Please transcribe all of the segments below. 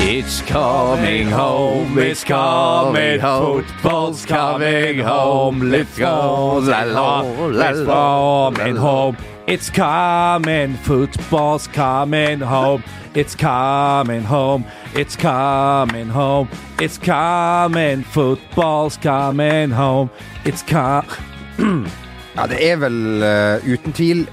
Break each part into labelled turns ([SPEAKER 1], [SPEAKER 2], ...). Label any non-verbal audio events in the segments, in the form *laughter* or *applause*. [SPEAKER 1] It's coming home, it's coming home. Football's coming home. Let's go, la la, let's coming home. It's coming, football's coming home. It's coming home, it's coming home. It's coming, football's coming home. It's coming.
[SPEAKER 2] Ja, det er vel eh, uten tvil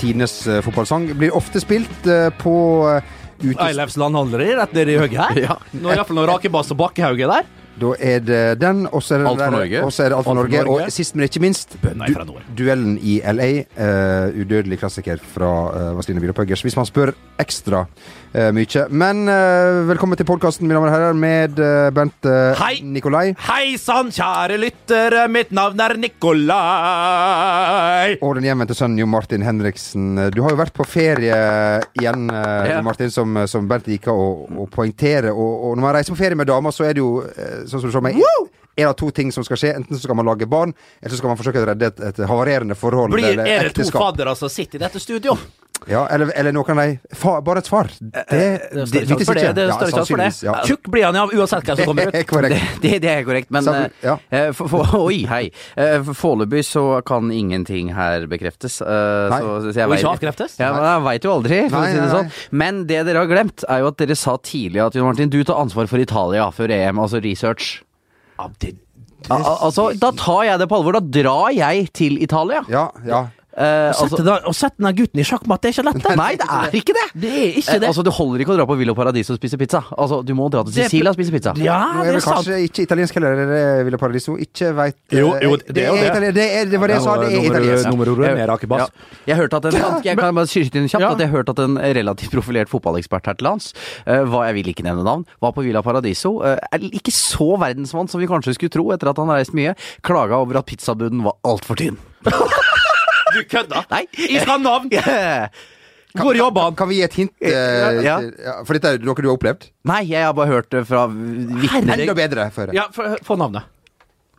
[SPEAKER 2] tidenes eh, fotballsang. Blir ofte spilt eh, på uh, ute...
[SPEAKER 1] Eilefsland holder i er rett nede i høyre her.
[SPEAKER 3] Ja.
[SPEAKER 1] Nå er iallfall noen Rakebass og Bakkehauge der.
[SPEAKER 2] Da er det den, og så er det
[SPEAKER 3] Alt for
[SPEAKER 2] den der-
[SPEAKER 3] Norge.
[SPEAKER 2] Og så er det Alt for Norge. Og sist, men ikke minst,
[SPEAKER 1] Bønna
[SPEAKER 2] du-
[SPEAKER 1] ifra nord.
[SPEAKER 2] duellen i LA. eh, udødelig klassiker fra uh, Vazelina Widerpøggers. Hvis man spør ekstra eh, mye. Men eh, velkommen til podkasten, mine damer og herrer, med eh, Bent eh,
[SPEAKER 1] Hei!
[SPEAKER 2] Nikolai.
[SPEAKER 1] Hei sann, kjære lyttere, mitt navn er Nikolai.
[SPEAKER 2] Og den hjemvendte sønnen Jo Martin Henriksen. Du har jo vært på ferie igjen, eh,
[SPEAKER 3] Ja.
[SPEAKER 2] Jo Martin, som, som Bernt liker å, å poengtere. Og, og når man reiser på ferie med damer, så er det jo eh, sånn som du ser meg en av to ting som skal skje. Enten så skal man lage barn, eller så skal man forsøke å redde et, et havarerende forhold.
[SPEAKER 1] Blir,
[SPEAKER 2] eller
[SPEAKER 1] er det to
[SPEAKER 2] ekteskap.
[SPEAKER 1] faddere som sitter i dette studio?
[SPEAKER 2] Ja, eller, eller noen av de fa, Bare et svar. Det,
[SPEAKER 1] Eh, Det står ikke for det. det, står ikke for det.
[SPEAKER 2] sannsynligvis, ja.
[SPEAKER 1] Tjukk blir han av uansett hvem som *laughs* kommer ut.
[SPEAKER 2] Det er *laughs* korrekt.
[SPEAKER 3] Det, det, det er korrekt, men
[SPEAKER 2] Sa du- ja.
[SPEAKER 3] eh, for, for, Oi, hei. Eh, for- Foreløpig så kan ingenting her bekreftes. eh,
[SPEAKER 2] Nei.
[SPEAKER 3] så, så jeg
[SPEAKER 1] Og ikke
[SPEAKER 3] vet-
[SPEAKER 1] avkreftes?
[SPEAKER 3] Ja, men jeg veit jo aldri, for
[SPEAKER 2] Nei,
[SPEAKER 3] å si det
[SPEAKER 2] nei,
[SPEAKER 3] sånn. Men det dere har glemt, er jo at dere sa tidlig at Jon Martin, du tar ansvar for Italia før EM, altså research.
[SPEAKER 1] Ja, det-
[SPEAKER 3] Al al- altså, da tar jeg det på alvor. Da drar jeg til Italia.
[SPEAKER 2] Ja, ja.
[SPEAKER 3] Eh, altså,
[SPEAKER 1] Sette den- Å sette den gutten i sjakkmatt, det er ikke lett. det.
[SPEAKER 3] nei, det er ikke det!
[SPEAKER 1] Det er ikke
[SPEAKER 3] Eh,
[SPEAKER 1] det.
[SPEAKER 3] altså, Det holder ikke å dra på Villa Paradiso og spise pizza. Altså, Du må dra til
[SPEAKER 1] Det-
[SPEAKER 3] Sicilia og spise pizza.
[SPEAKER 1] Ja,
[SPEAKER 2] Nå er
[SPEAKER 1] det er
[SPEAKER 2] vel
[SPEAKER 1] sant.
[SPEAKER 2] kanskje ikke italiensk heller, er det Villa Paradiso? Ikke veit
[SPEAKER 1] Jo, jo, det er
[SPEAKER 2] det,
[SPEAKER 1] jo
[SPEAKER 2] er
[SPEAKER 1] det.
[SPEAKER 2] itali- det, er- det var det jeg sa, det er italiensk.
[SPEAKER 1] Nummerordet med
[SPEAKER 3] Ja.
[SPEAKER 1] Rakebass.
[SPEAKER 3] Jeg hørte at en, jeg kan bare skyte inn kjapt
[SPEAKER 1] Ja.
[SPEAKER 3] at jeg hørte at en relativt profilert fotballekspert her til lands, eh, var, jeg vil ikke nevne navn, var på Villa Paradiso. eh, er ikke så verdensmann som vi kanskje skulle tro etter at han har reist mye. Klaga over at pizzabuden var altfor tynn.
[SPEAKER 1] Du kødda!
[SPEAKER 3] Nei!
[SPEAKER 1] Jeg skal ha navn!
[SPEAKER 3] Nei,
[SPEAKER 1] Hvor jobber han?
[SPEAKER 2] Kan vi gi et hint? eh,
[SPEAKER 3] Ja.
[SPEAKER 2] til- ja, for dette er noe du har opplevd?
[SPEAKER 3] jeg har bare hørt det fra vitner.
[SPEAKER 2] Enda bedre. For.
[SPEAKER 1] Ja, få få navnet.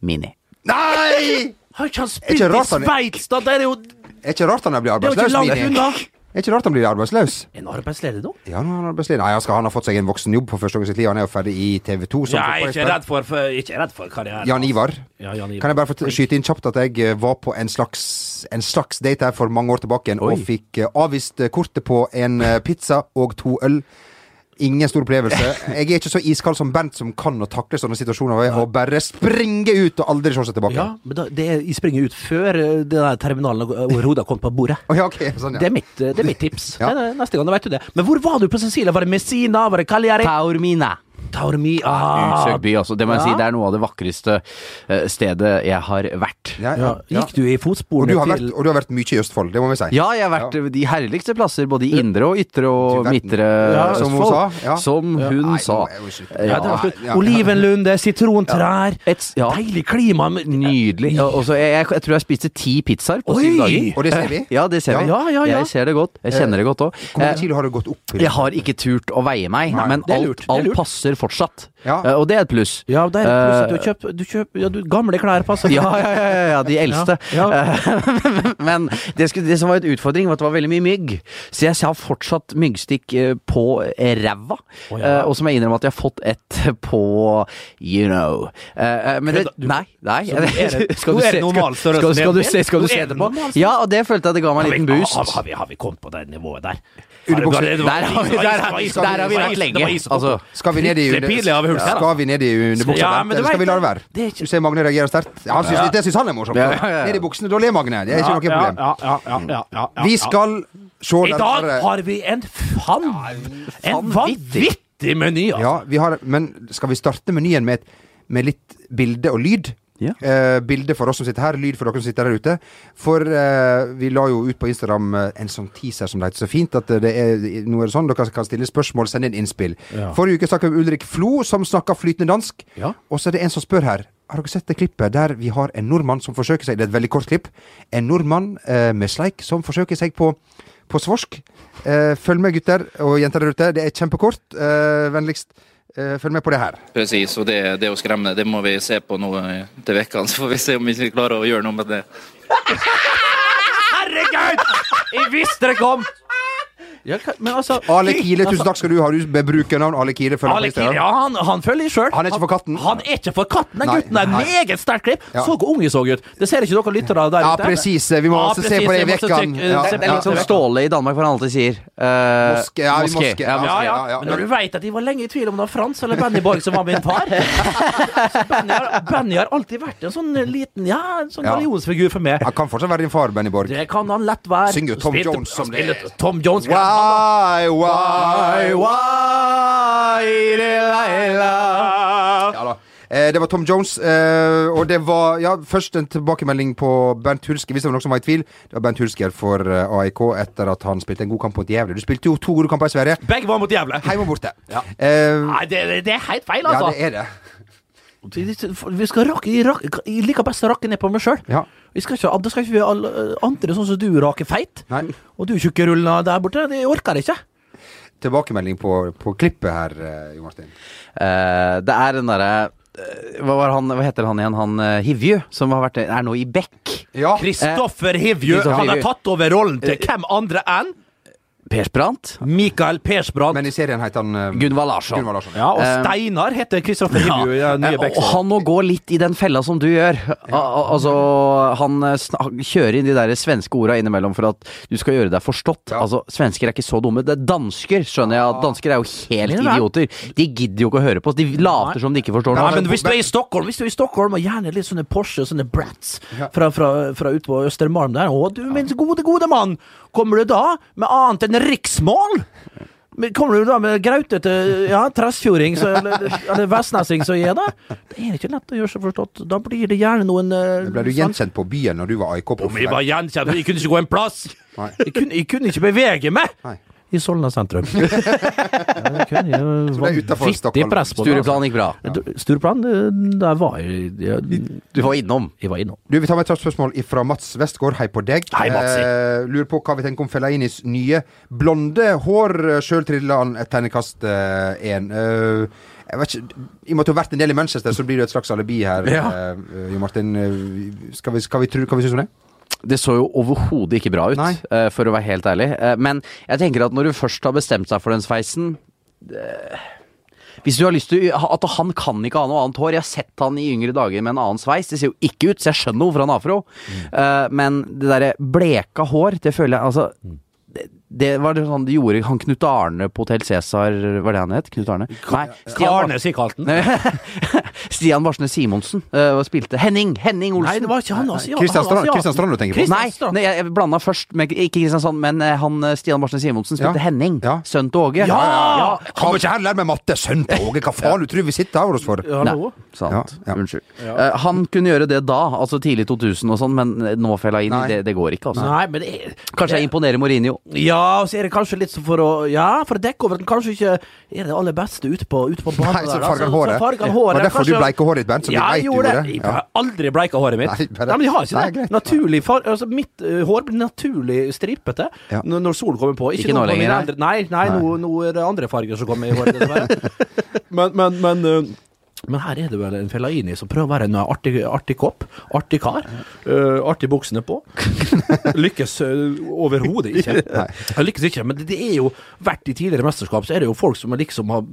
[SPEAKER 3] Mini.
[SPEAKER 2] Nei!
[SPEAKER 1] Har ikke han spilt
[SPEAKER 2] ikke
[SPEAKER 1] i
[SPEAKER 2] rart han-
[SPEAKER 1] Sveits, da? Det er jo, det
[SPEAKER 2] Er ikke rart han blir
[SPEAKER 1] er jo ikke
[SPEAKER 2] arbeidsløs,
[SPEAKER 1] langt
[SPEAKER 2] Mini.
[SPEAKER 1] unna.
[SPEAKER 2] Er ikke rart han blir arbeidsløs?
[SPEAKER 1] Er han arbeidsledig nå?
[SPEAKER 2] Ja, nå er han arbeidsledig. Nei, han, skal, han har fått seg en voksenjobb for første gang i sitt liv. Han er jo ferdig i TV 2
[SPEAKER 1] Ja,
[SPEAKER 2] som
[SPEAKER 1] jeg er ikke
[SPEAKER 2] fotballekspert.
[SPEAKER 1] redd for, for, jeg er ikke redd for karrieren.
[SPEAKER 2] Jan Ivar.
[SPEAKER 1] Ja, Jan Ivar.
[SPEAKER 2] Kan jeg bare få t- skyte inn kjapt at jeg eh, var på en slags, en slags date her for mange år tilbake igjen, og fikk eh, avvist eh, kortet på en eh, pizza og to øl. Ingen stor opplevelse.
[SPEAKER 1] *laughs*
[SPEAKER 2] Jeg er ikke så iskald som Bernt, som kan å takle sånne situasjoner og bare springe ut og aldri se seg tilbake.
[SPEAKER 1] Ja, men da, det, jeg springer ut før eh, den der terminalen overhodet har kommet på bordet.
[SPEAKER 2] Å, *laughs* ja, ok, sånn,
[SPEAKER 1] Det,
[SPEAKER 2] ja.
[SPEAKER 1] er mitt, eh, det er mitt tips.
[SPEAKER 2] Ja.
[SPEAKER 1] Nei, nei, Neste gang, da vet du det. Men hvor var du på Cecilia? Var det Messina? Var det Cagliari?
[SPEAKER 3] Taormina.
[SPEAKER 1] Taormi? Ah,
[SPEAKER 3] Utsøkt by, altså. Det må jeg
[SPEAKER 1] Ja.
[SPEAKER 3] si, det er noe av det vakreste eh, stedet jeg har vært.
[SPEAKER 2] Ja,
[SPEAKER 1] ja.
[SPEAKER 2] ja, ja.
[SPEAKER 1] Gikk du i
[SPEAKER 2] Og du,
[SPEAKER 1] fotsporene
[SPEAKER 2] har vært,
[SPEAKER 1] til
[SPEAKER 2] og du har vært mye i Østfold, det må vi si.
[SPEAKER 3] Ja, jeg har vært de herligste plasser, både i indre og ytre og
[SPEAKER 2] Du verden.
[SPEAKER 3] midtre
[SPEAKER 2] Ja, som hun
[SPEAKER 3] Østfold.
[SPEAKER 2] sa, ja.
[SPEAKER 3] Som hun
[SPEAKER 2] Nei, nå
[SPEAKER 3] sa.
[SPEAKER 2] er jo slutt.
[SPEAKER 1] ja, det var slutt.
[SPEAKER 2] Ja, ja.
[SPEAKER 1] Olivenlunde, sitrontrær,
[SPEAKER 3] Et, ja,
[SPEAKER 1] deilig klima men-
[SPEAKER 3] nydelig. Ja, og så jeg, jeg, jeg tror jeg spiste ti pizzaer på
[SPEAKER 1] Oi!
[SPEAKER 3] syv dager.
[SPEAKER 2] Og det ser vi.
[SPEAKER 3] Ja, det ser
[SPEAKER 2] Ja.
[SPEAKER 3] vi.
[SPEAKER 1] Ja, ja, ja.
[SPEAKER 3] Jeg ser det godt. Jeg kjenner det godt òg.
[SPEAKER 2] Hvor mange kilo har du gått opp i?
[SPEAKER 3] Jeg har ikke turt å veie meg,
[SPEAKER 2] Nei.
[SPEAKER 3] men
[SPEAKER 1] Det er
[SPEAKER 3] alt,
[SPEAKER 1] lurt, det er
[SPEAKER 3] alt
[SPEAKER 1] lurt.
[SPEAKER 3] passer fortsatt.
[SPEAKER 2] Ja.
[SPEAKER 3] Eh, Og det er et pluss.
[SPEAKER 1] Ja, det er
[SPEAKER 3] Eh,
[SPEAKER 1] plutselig du kjøper, du kjøper ja, du, Gamle klær passer.
[SPEAKER 3] ja, ja, ja, ja, ja, de eldste.
[SPEAKER 1] Ja,
[SPEAKER 3] *laughs* Men det, skulle, det som var et utfordring, var at det var veldig mye mygg. Så jeg har fortsatt myggstikk eh, på eh, ræva.
[SPEAKER 1] Å, ja.
[SPEAKER 3] Eh, Og så må jeg innrømme at jeg har fått et på you know. Eh, eh, Men det,
[SPEAKER 1] Kødda du?
[SPEAKER 3] nei, nei.
[SPEAKER 1] Så nå er
[SPEAKER 3] *laughs*
[SPEAKER 1] det-
[SPEAKER 3] Skal du
[SPEAKER 1] nå er
[SPEAKER 3] se-
[SPEAKER 1] det normal
[SPEAKER 3] skal-
[SPEAKER 1] størrelse
[SPEAKER 3] Skal, skal, du
[SPEAKER 1] ned?
[SPEAKER 3] se- skal
[SPEAKER 1] Nå
[SPEAKER 3] du
[SPEAKER 1] er
[SPEAKER 3] se
[SPEAKER 1] det
[SPEAKER 3] det på?
[SPEAKER 1] normal størrelse.
[SPEAKER 3] Ja, og det følte jeg at det ga meg en
[SPEAKER 1] Har vi-
[SPEAKER 3] liten
[SPEAKER 1] Har,
[SPEAKER 3] boost.
[SPEAKER 1] har, vi, har vi kommet på det nivået der?
[SPEAKER 2] Underbukse-
[SPEAKER 1] Har det-
[SPEAKER 3] Der har vi, der, har-
[SPEAKER 1] Det var is-
[SPEAKER 3] der har vi
[SPEAKER 1] det var
[SPEAKER 3] vært
[SPEAKER 1] is- det
[SPEAKER 3] lenge.
[SPEAKER 1] var is-
[SPEAKER 3] Altså,
[SPEAKER 2] Skal vi ned i
[SPEAKER 1] Det er pinlig av Hulst her, da.
[SPEAKER 2] Skal vi ned i underbuksa?
[SPEAKER 1] Ja,
[SPEAKER 2] Bent,
[SPEAKER 1] men du
[SPEAKER 2] eller skal vi
[SPEAKER 1] vet
[SPEAKER 2] la det
[SPEAKER 1] det.
[SPEAKER 2] være?
[SPEAKER 1] Det er ikke-
[SPEAKER 2] Du ser Magne reagerer sterkt. Ja, Han syns,
[SPEAKER 1] Ja.
[SPEAKER 2] Det syns han er morsomt.
[SPEAKER 3] Ja, ja, ja.
[SPEAKER 2] Ned i buksene, da ler Magne. Det er ikke noe
[SPEAKER 1] ja,
[SPEAKER 2] problem.
[SPEAKER 1] ja, ja, ja, ja, ja, ja.
[SPEAKER 2] Vi skal se
[SPEAKER 1] I dag
[SPEAKER 3] eh,
[SPEAKER 1] har vi en fan... En vanvittig meny, altså.
[SPEAKER 2] Ja, vi har Men skal vi starte menyen med, et, med litt bilde og lyd?
[SPEAKER 3] Ja.
[SPEAKER 2] Eh, bilde for oss som sitter her, lyd for dere som sitter der ute. For eh, vi la jo ut på Instagram eh, en sånn teaser som det heter så fint. At eh, det er, nå er det sånn dere kan stille spørsmål, sende inn innspill.
[SPEAKER 1] Ja.
[SPEAKER 2] Forrige uke snakket vi om Ulrik Flo, som snakker flytende dansk.
[SPEAKER 1] Ja.
[SPEAKER 2] Og så er det en som spør her. Har dere sett det klippet der vi har en nordmann som forsøker seg Det er et veldig kort klipp. En nordmann eh, med sleik som forsøker seg på, på svorsk. Eh, følg med, gutter og jenter der ute. Det er kjempekort. Eh, vennligst eh, følg med på det her.
[SPEAKER 4] Precis, og det, det er jo skremmende. Det må vi se på nå eh, til vekkene, så får vi se om vi ikke klarer å gjøre noe med det.
[SPEAKER 1] Herregud! Jeg visste det kom!
[SPEAKER 3] Ja, ka- men altså
[SPEAKER 2] Ale Kile, tusen takk skal du ha. Du med brukernavn Ale Kile. følger
[SPEAKER 1] Alec
[SPEAKER 2] på Instagram.
[SPEAKER 1] Kiel, ja, han, han følger sjøl.
[SPEAKER 2] Han er ikke for katten.
[SPEAKER 1] Han er ikke for katten, den
[SPEAKER 2] Nei,
[SPEAKER 1] gutten er en
[SPEAKER 2] nei.
[SPEAKER 1] meget sterk klipp.
[SPEAKER 2] Ja.
[SPEAKER 1] Så hvor ung jeg så ut. Det ser ikke dere lyttere der
[SPEAKER 2] Ja,
[SPEAKER 1] ute.
[SPEAKER 2] presis. Vi må også se
[SPEAKER 1] presis,
[SPEAKER 2] på det i
[SPEAKER 1] jeg må også
[SPEAKER 2] vekken.
[SPEAKER 1] trykke-
[SPEAKER 2] Ja,
[SPEAKER 1] se-
[SPEAKER 3] Det er litt
[SPEAKER 1] ja,
[SPEAKER 3] som
[SPEAKER 1] ja.
[SPEAKER 3] Ståle i Danmark, for han alltid sier eh,
[SPEAKER 2] Moske, ja, i moske, ja.
[SPEAKER 1] Ja, ja.
[SPEAKER 2] ja, ja.
[SPEAKER 1] Men når du veit at jeg var lenge i tvil om det var Frans eller Benny Borg som var min
[SPEAKER 2] *laughs*
[SPEAKER 1] far Så Benny har, Benny har alltid vært en sånn liten ja, en sånn
[SPEAKER 2] Ja.
[SPEAKER 1] religionsfigur for meg.
[SPEAKER 2] Han kan fortsatt være din far, Benny Borg.
[SPEAKER 1] Det kan han lett være.
[SPEAKER 2] Synger jo Tom
[SPEAKER 1] Spilte-
[SPEAKER 2] Jones som det er.
[SPEAKER 1] spilte Tom Jones.
[SPEAKER 2] Why, why,
[SPEAKER 1] why,
[SPEAKER 2] Ja da. Eh, Det var Tom Jones, eh, og det var ja, først en tilbakemelding på Bernt Hulsker. Hvis det var noen som var i tvil, det var Bernt Hulsker for eh, AIK etter at han spilte en god kamp mot Gävle. Du spilte jo to gode kamper i Sverige,
[SPEAKER 1] Begge var mot Jævle.
[SPEAKER 2] hjemme og borte. Eh,
[SPEAKER 1] Nei, det, det- det er helt feil,
[SPEAKER 2] ja,
[SPEAKER 1] altså.
[SPEAKER 2] det er det.
[SPEAKER 1] Vi skal rakke, jeg rakke, jeg liker best å rakke ned på meg sjøl.
[SPEAKER 2] Ja.
[SPEAKER 1] Vi skal ikke, da skal ikke vi alle, andre sånn som du raker feit,
[SPEAKER 2] Nei.
[SPEAKER 1] og du tjukke rullene der borte. Det orker jeg ikke.
[SPEAKER 2] Tilbakemelding på, på klippet her, eh, Jo Martin.
[SPEAKER 3] Eh, det er den derre eh, hva, var han- hva heter han igjen? Han uh, Hivju, som har vært, er nå i Bekk.
[SPEAKER 2] Ja.
[SPEAKER 1] Kristoffer Hivju
[SPEAKER 3] Kristoffer
[SPEAKER 1] han har
[SPEAKER 3] Hivju.
[SPEAKER 1] tatt over rollen
[SPEAKER 2] Eh.
[SPEAKER 1] til hvem andre enn
[SPEAKER 3] Per Sprant.
[SPEAKER 1] Mikael Persbrandt.
[SPEAKER 2] Men i serien het han eh,
[SPEAKER 3] Gunvald Larsson.
[SPEAKER 2] Gunvald Larsson.
[SPEAKER 1] Ja, og
[SPEAKER 3] Eh,
[SPEAKER 1] Steinar heter Kristoffer Hivju i den nye
[SPEAKER 3] Eh, Og
[SPEAKER 1] Bekksen.
[SPEAKER 3] han må gå litt i den fella som du gjør. Al- al- Altså, han eh, sna- han kjører inn de der svenske orda innimellom for at du skal gjøre deg forstått. Altså, Svensker er ikke så dumme. Det er dansker, skjønner jeg. at Dansker er jo helt
[SPEAKER 1] Mener du
[SPEAKER 3] idioter. De gidder jo ikke å høre på oss. De
[SPEAKER 1] Nei.
[SPEAKER 3] later som de ikke forstår
[SPEAKER 1] Nei,
[SPEAKER 3] noe.
[SPEAKER 1] men hvis du er i Stockholm, hvis du er i Stockholm og gjerne litt sånne Porsche og sånne Brats
[SPEAKER 2] Ja.
[SPEAKER 1] fra, fra, fra ute på Østermalm der Å, du min gode, gode mann! Kommer du da med annet enn riksmål? Men Kommer du da med grautete ja, trassfjording så- eller, eller vestnessing som gir deg? Det er ikke lett å gjøre seg forstått. Da blir det gjerne noen eh,
[SPEAKER 2] Ble du
[SPEAKER 1] sans-
[SPEAKER 2] gjenkjent på byen når du var AIK-proff?
[SPEAKER 1] Om jeg var gjenkjent? Jeg kunne ikke gå en plass!
[SPEAKER 2] Nei.
[SPEAKER 1] Jeg kunne, jeg kunne ikke bevege meg!
[SPEAKER 2] Nei.
[SPEAKER 1] I Solna
[SPEAKER 2] *laughs*
[SPEAKER 1] sentrum. ja, det kunne jeg. Det var
[SPEAKER 2] utenfor
[SPEAKER 1] vittig
[SPEAKER 2] Stockholm.
[SPEAKER 1] press på det, altså.
[SPEAKER 3] Stureplan gikk bra.
[SPEAKER 1] Du- Stureplan, det- der var jeg jeg-
[SPEAKER 3] Du var innom.
[SPEAKER 1] Jeg var innom.
[SPEAKER 2] Du, Vi tar med et kjapt spørsmål fra Mats Westgård. Hei på deg.
[SPEAKER 1] Hei, Matsi.
[SPEAKER 2] Eh, lurer på hva vi tenker om Fellainis nye blonde hår. Sjøl trilla han et tegnekast én. Eh, jeg vet ikke, I og med at du har vært en del i Manchester, så blir det et slags alibi her.
[SPEAKER 1] Ja.
[SPEAKER 2] eh, Jo Martin, Eh, skal vi, skal vi tro hva vi syns om det?
[SPEAKER 3] Det så jo overhodet ikke bra ut,
[SPEAKER 2] Nei.
[SPEAKER 3] eh, for å være helt ærlig. Eh, Men jeg tenker at når du først har bestemt deg for den sveisen eh, Hvis du har lyst til å- At han kan ikke ha noe annet hår. Jeg har sett han i yngre dager med en annen sveis. Det ser jo ikke ut, så jeg skjønner hvorfor han har afro. Eh, Men det derre bleka hår, det føler jeg Altså
[SPEAKER 1] Mm.
[SPEAKER 3] det- det var det sånn de gjorde Han Knut Arne på Hotell Cæsar, var det han het? Knut Arne? Nei, Stian Bar-
[SPEAKER 1] Karne, sier Carlten. Nei,
[SPEAKER 3] Stian Barsnes Simonsen eh, spilte Henning! Henning Olsen!
[SPEAKER 1] det var ikke han. asiaten, han
[SPEAKER 2] Kristian Strand,
[SPEAKER 1] asiaten.
[SPEAKER 2] Kristian Strand du tenker på?
[SPEAKER 1] Kristian
[SPEAKER 3] Nei,
[SPEAKER 1] Strand.
[SPEAKER 3] nei, jeg jeg blanda først med ikke Kristiansand, men eh, han eh, Stian Barsnes Simonsen spilte
[SPEAKER 2] Ja.
[SPEAKER 3] Henning.
[SPEAKER 2] Ja.
[SPEAKER 3] Sønnen til Åge.
[SPEAKER 1] Ja!
[SPEAKER 2] Kom ikke her og lær meg matte, sønn på Åge! Hva faen du tror vi sitter her hos for?
[SPEAKER 1] Ja,
[SPEAKER 3] Nei,
[SPEAKER 1] hallo.
[SPEAKER 3] sant.
[SPEAKER 2] Ja, ja.
[SPEAKER 3] Unnskyld. Eh, han kunne gjøre det da, altså tidlig 2000 og sånn, men eh, nå fella inn,
[SPEAKER 2] Nei.
[SPEAKER 3] det, det går ikke, altså.
[SPEAKER 1] Nei, men det er
[SPEAKER 3] Kanskje jeg imponerer Mourinho.
[SPEAKER 1] Ja, og så er det kanskje litt så for å Ja, for å dekke over at den kanskje ikke er det aller beste ute på, ute på banen.
[SPEAKER 2] Nei, så
[SPEAKER 1] der,
[SPEAKER 2] farger
[SPEAKER 1] altså.
[SPEAKER 2] han
[SPEAKER 1] Så
[SPEAKER 2] håret.
[SPEAKER 1] farger han
[SPEAKER 2] Det var
[SPEAKER 1] håret.
[SPEAKER 2] derfor du
[SPEAKER 1] Kanskje-
[SPEAKER 2] bleika håret ditt, Bernt. Så vi
[SPEAKER 1] Ja,
[SPEAKER 2] vet
[SPEAKER 1] jeg
[SPEAKER 2] du
[SPEAKER 1] gjorde
[SPEAKER 2] gjorde
[SPEAKER 1] det.
[SPEAKER 2] det.
[SPEAKER 1] Jeg
[SPEAKER 2] Ja.
[SPEAKER 1] har aldri bleika håret mitt.
[SPEAKER 2] Nei,
[SPEAKER 1] Nei,
[SPEAKER 2] bare-
[SPEAKER 1] men jeg har ikke
[SPEAKER 2] Nei,
[SPEAKER 1] det.
[SPEAKER 2] greit.
[SPEAKER 1] Naturlig far, altså Mitt eh, hår blir naturlig stripete
[SPEAKER 2] Ja.
[SPEAKER 1] når, når solen kommer på. Ikke,
[SPEAKER 3] Ikke nå
[SPEAKER 1] når
[SPEAKER 3] lenger,
[SPEAKER 1] mine Andre, nei, nei, Nå, nå er det andre farger som kommer i håret,
[SPEAKER 2] *laughs*
[SPEAKER 1] dessverre. men, men, men eh, men her er det vel en Fellaini som prøver å være en artig, artig kopp, artig kar. eh, artig
[SPEAKER 3] *laughs*
[SPEAKER 1] buksene på. Lykkes eh, overhodet ikke. Han Lykkes ikke, men det, det er jo vært i tidligere mesterskap, så er det jo folk som liksom har,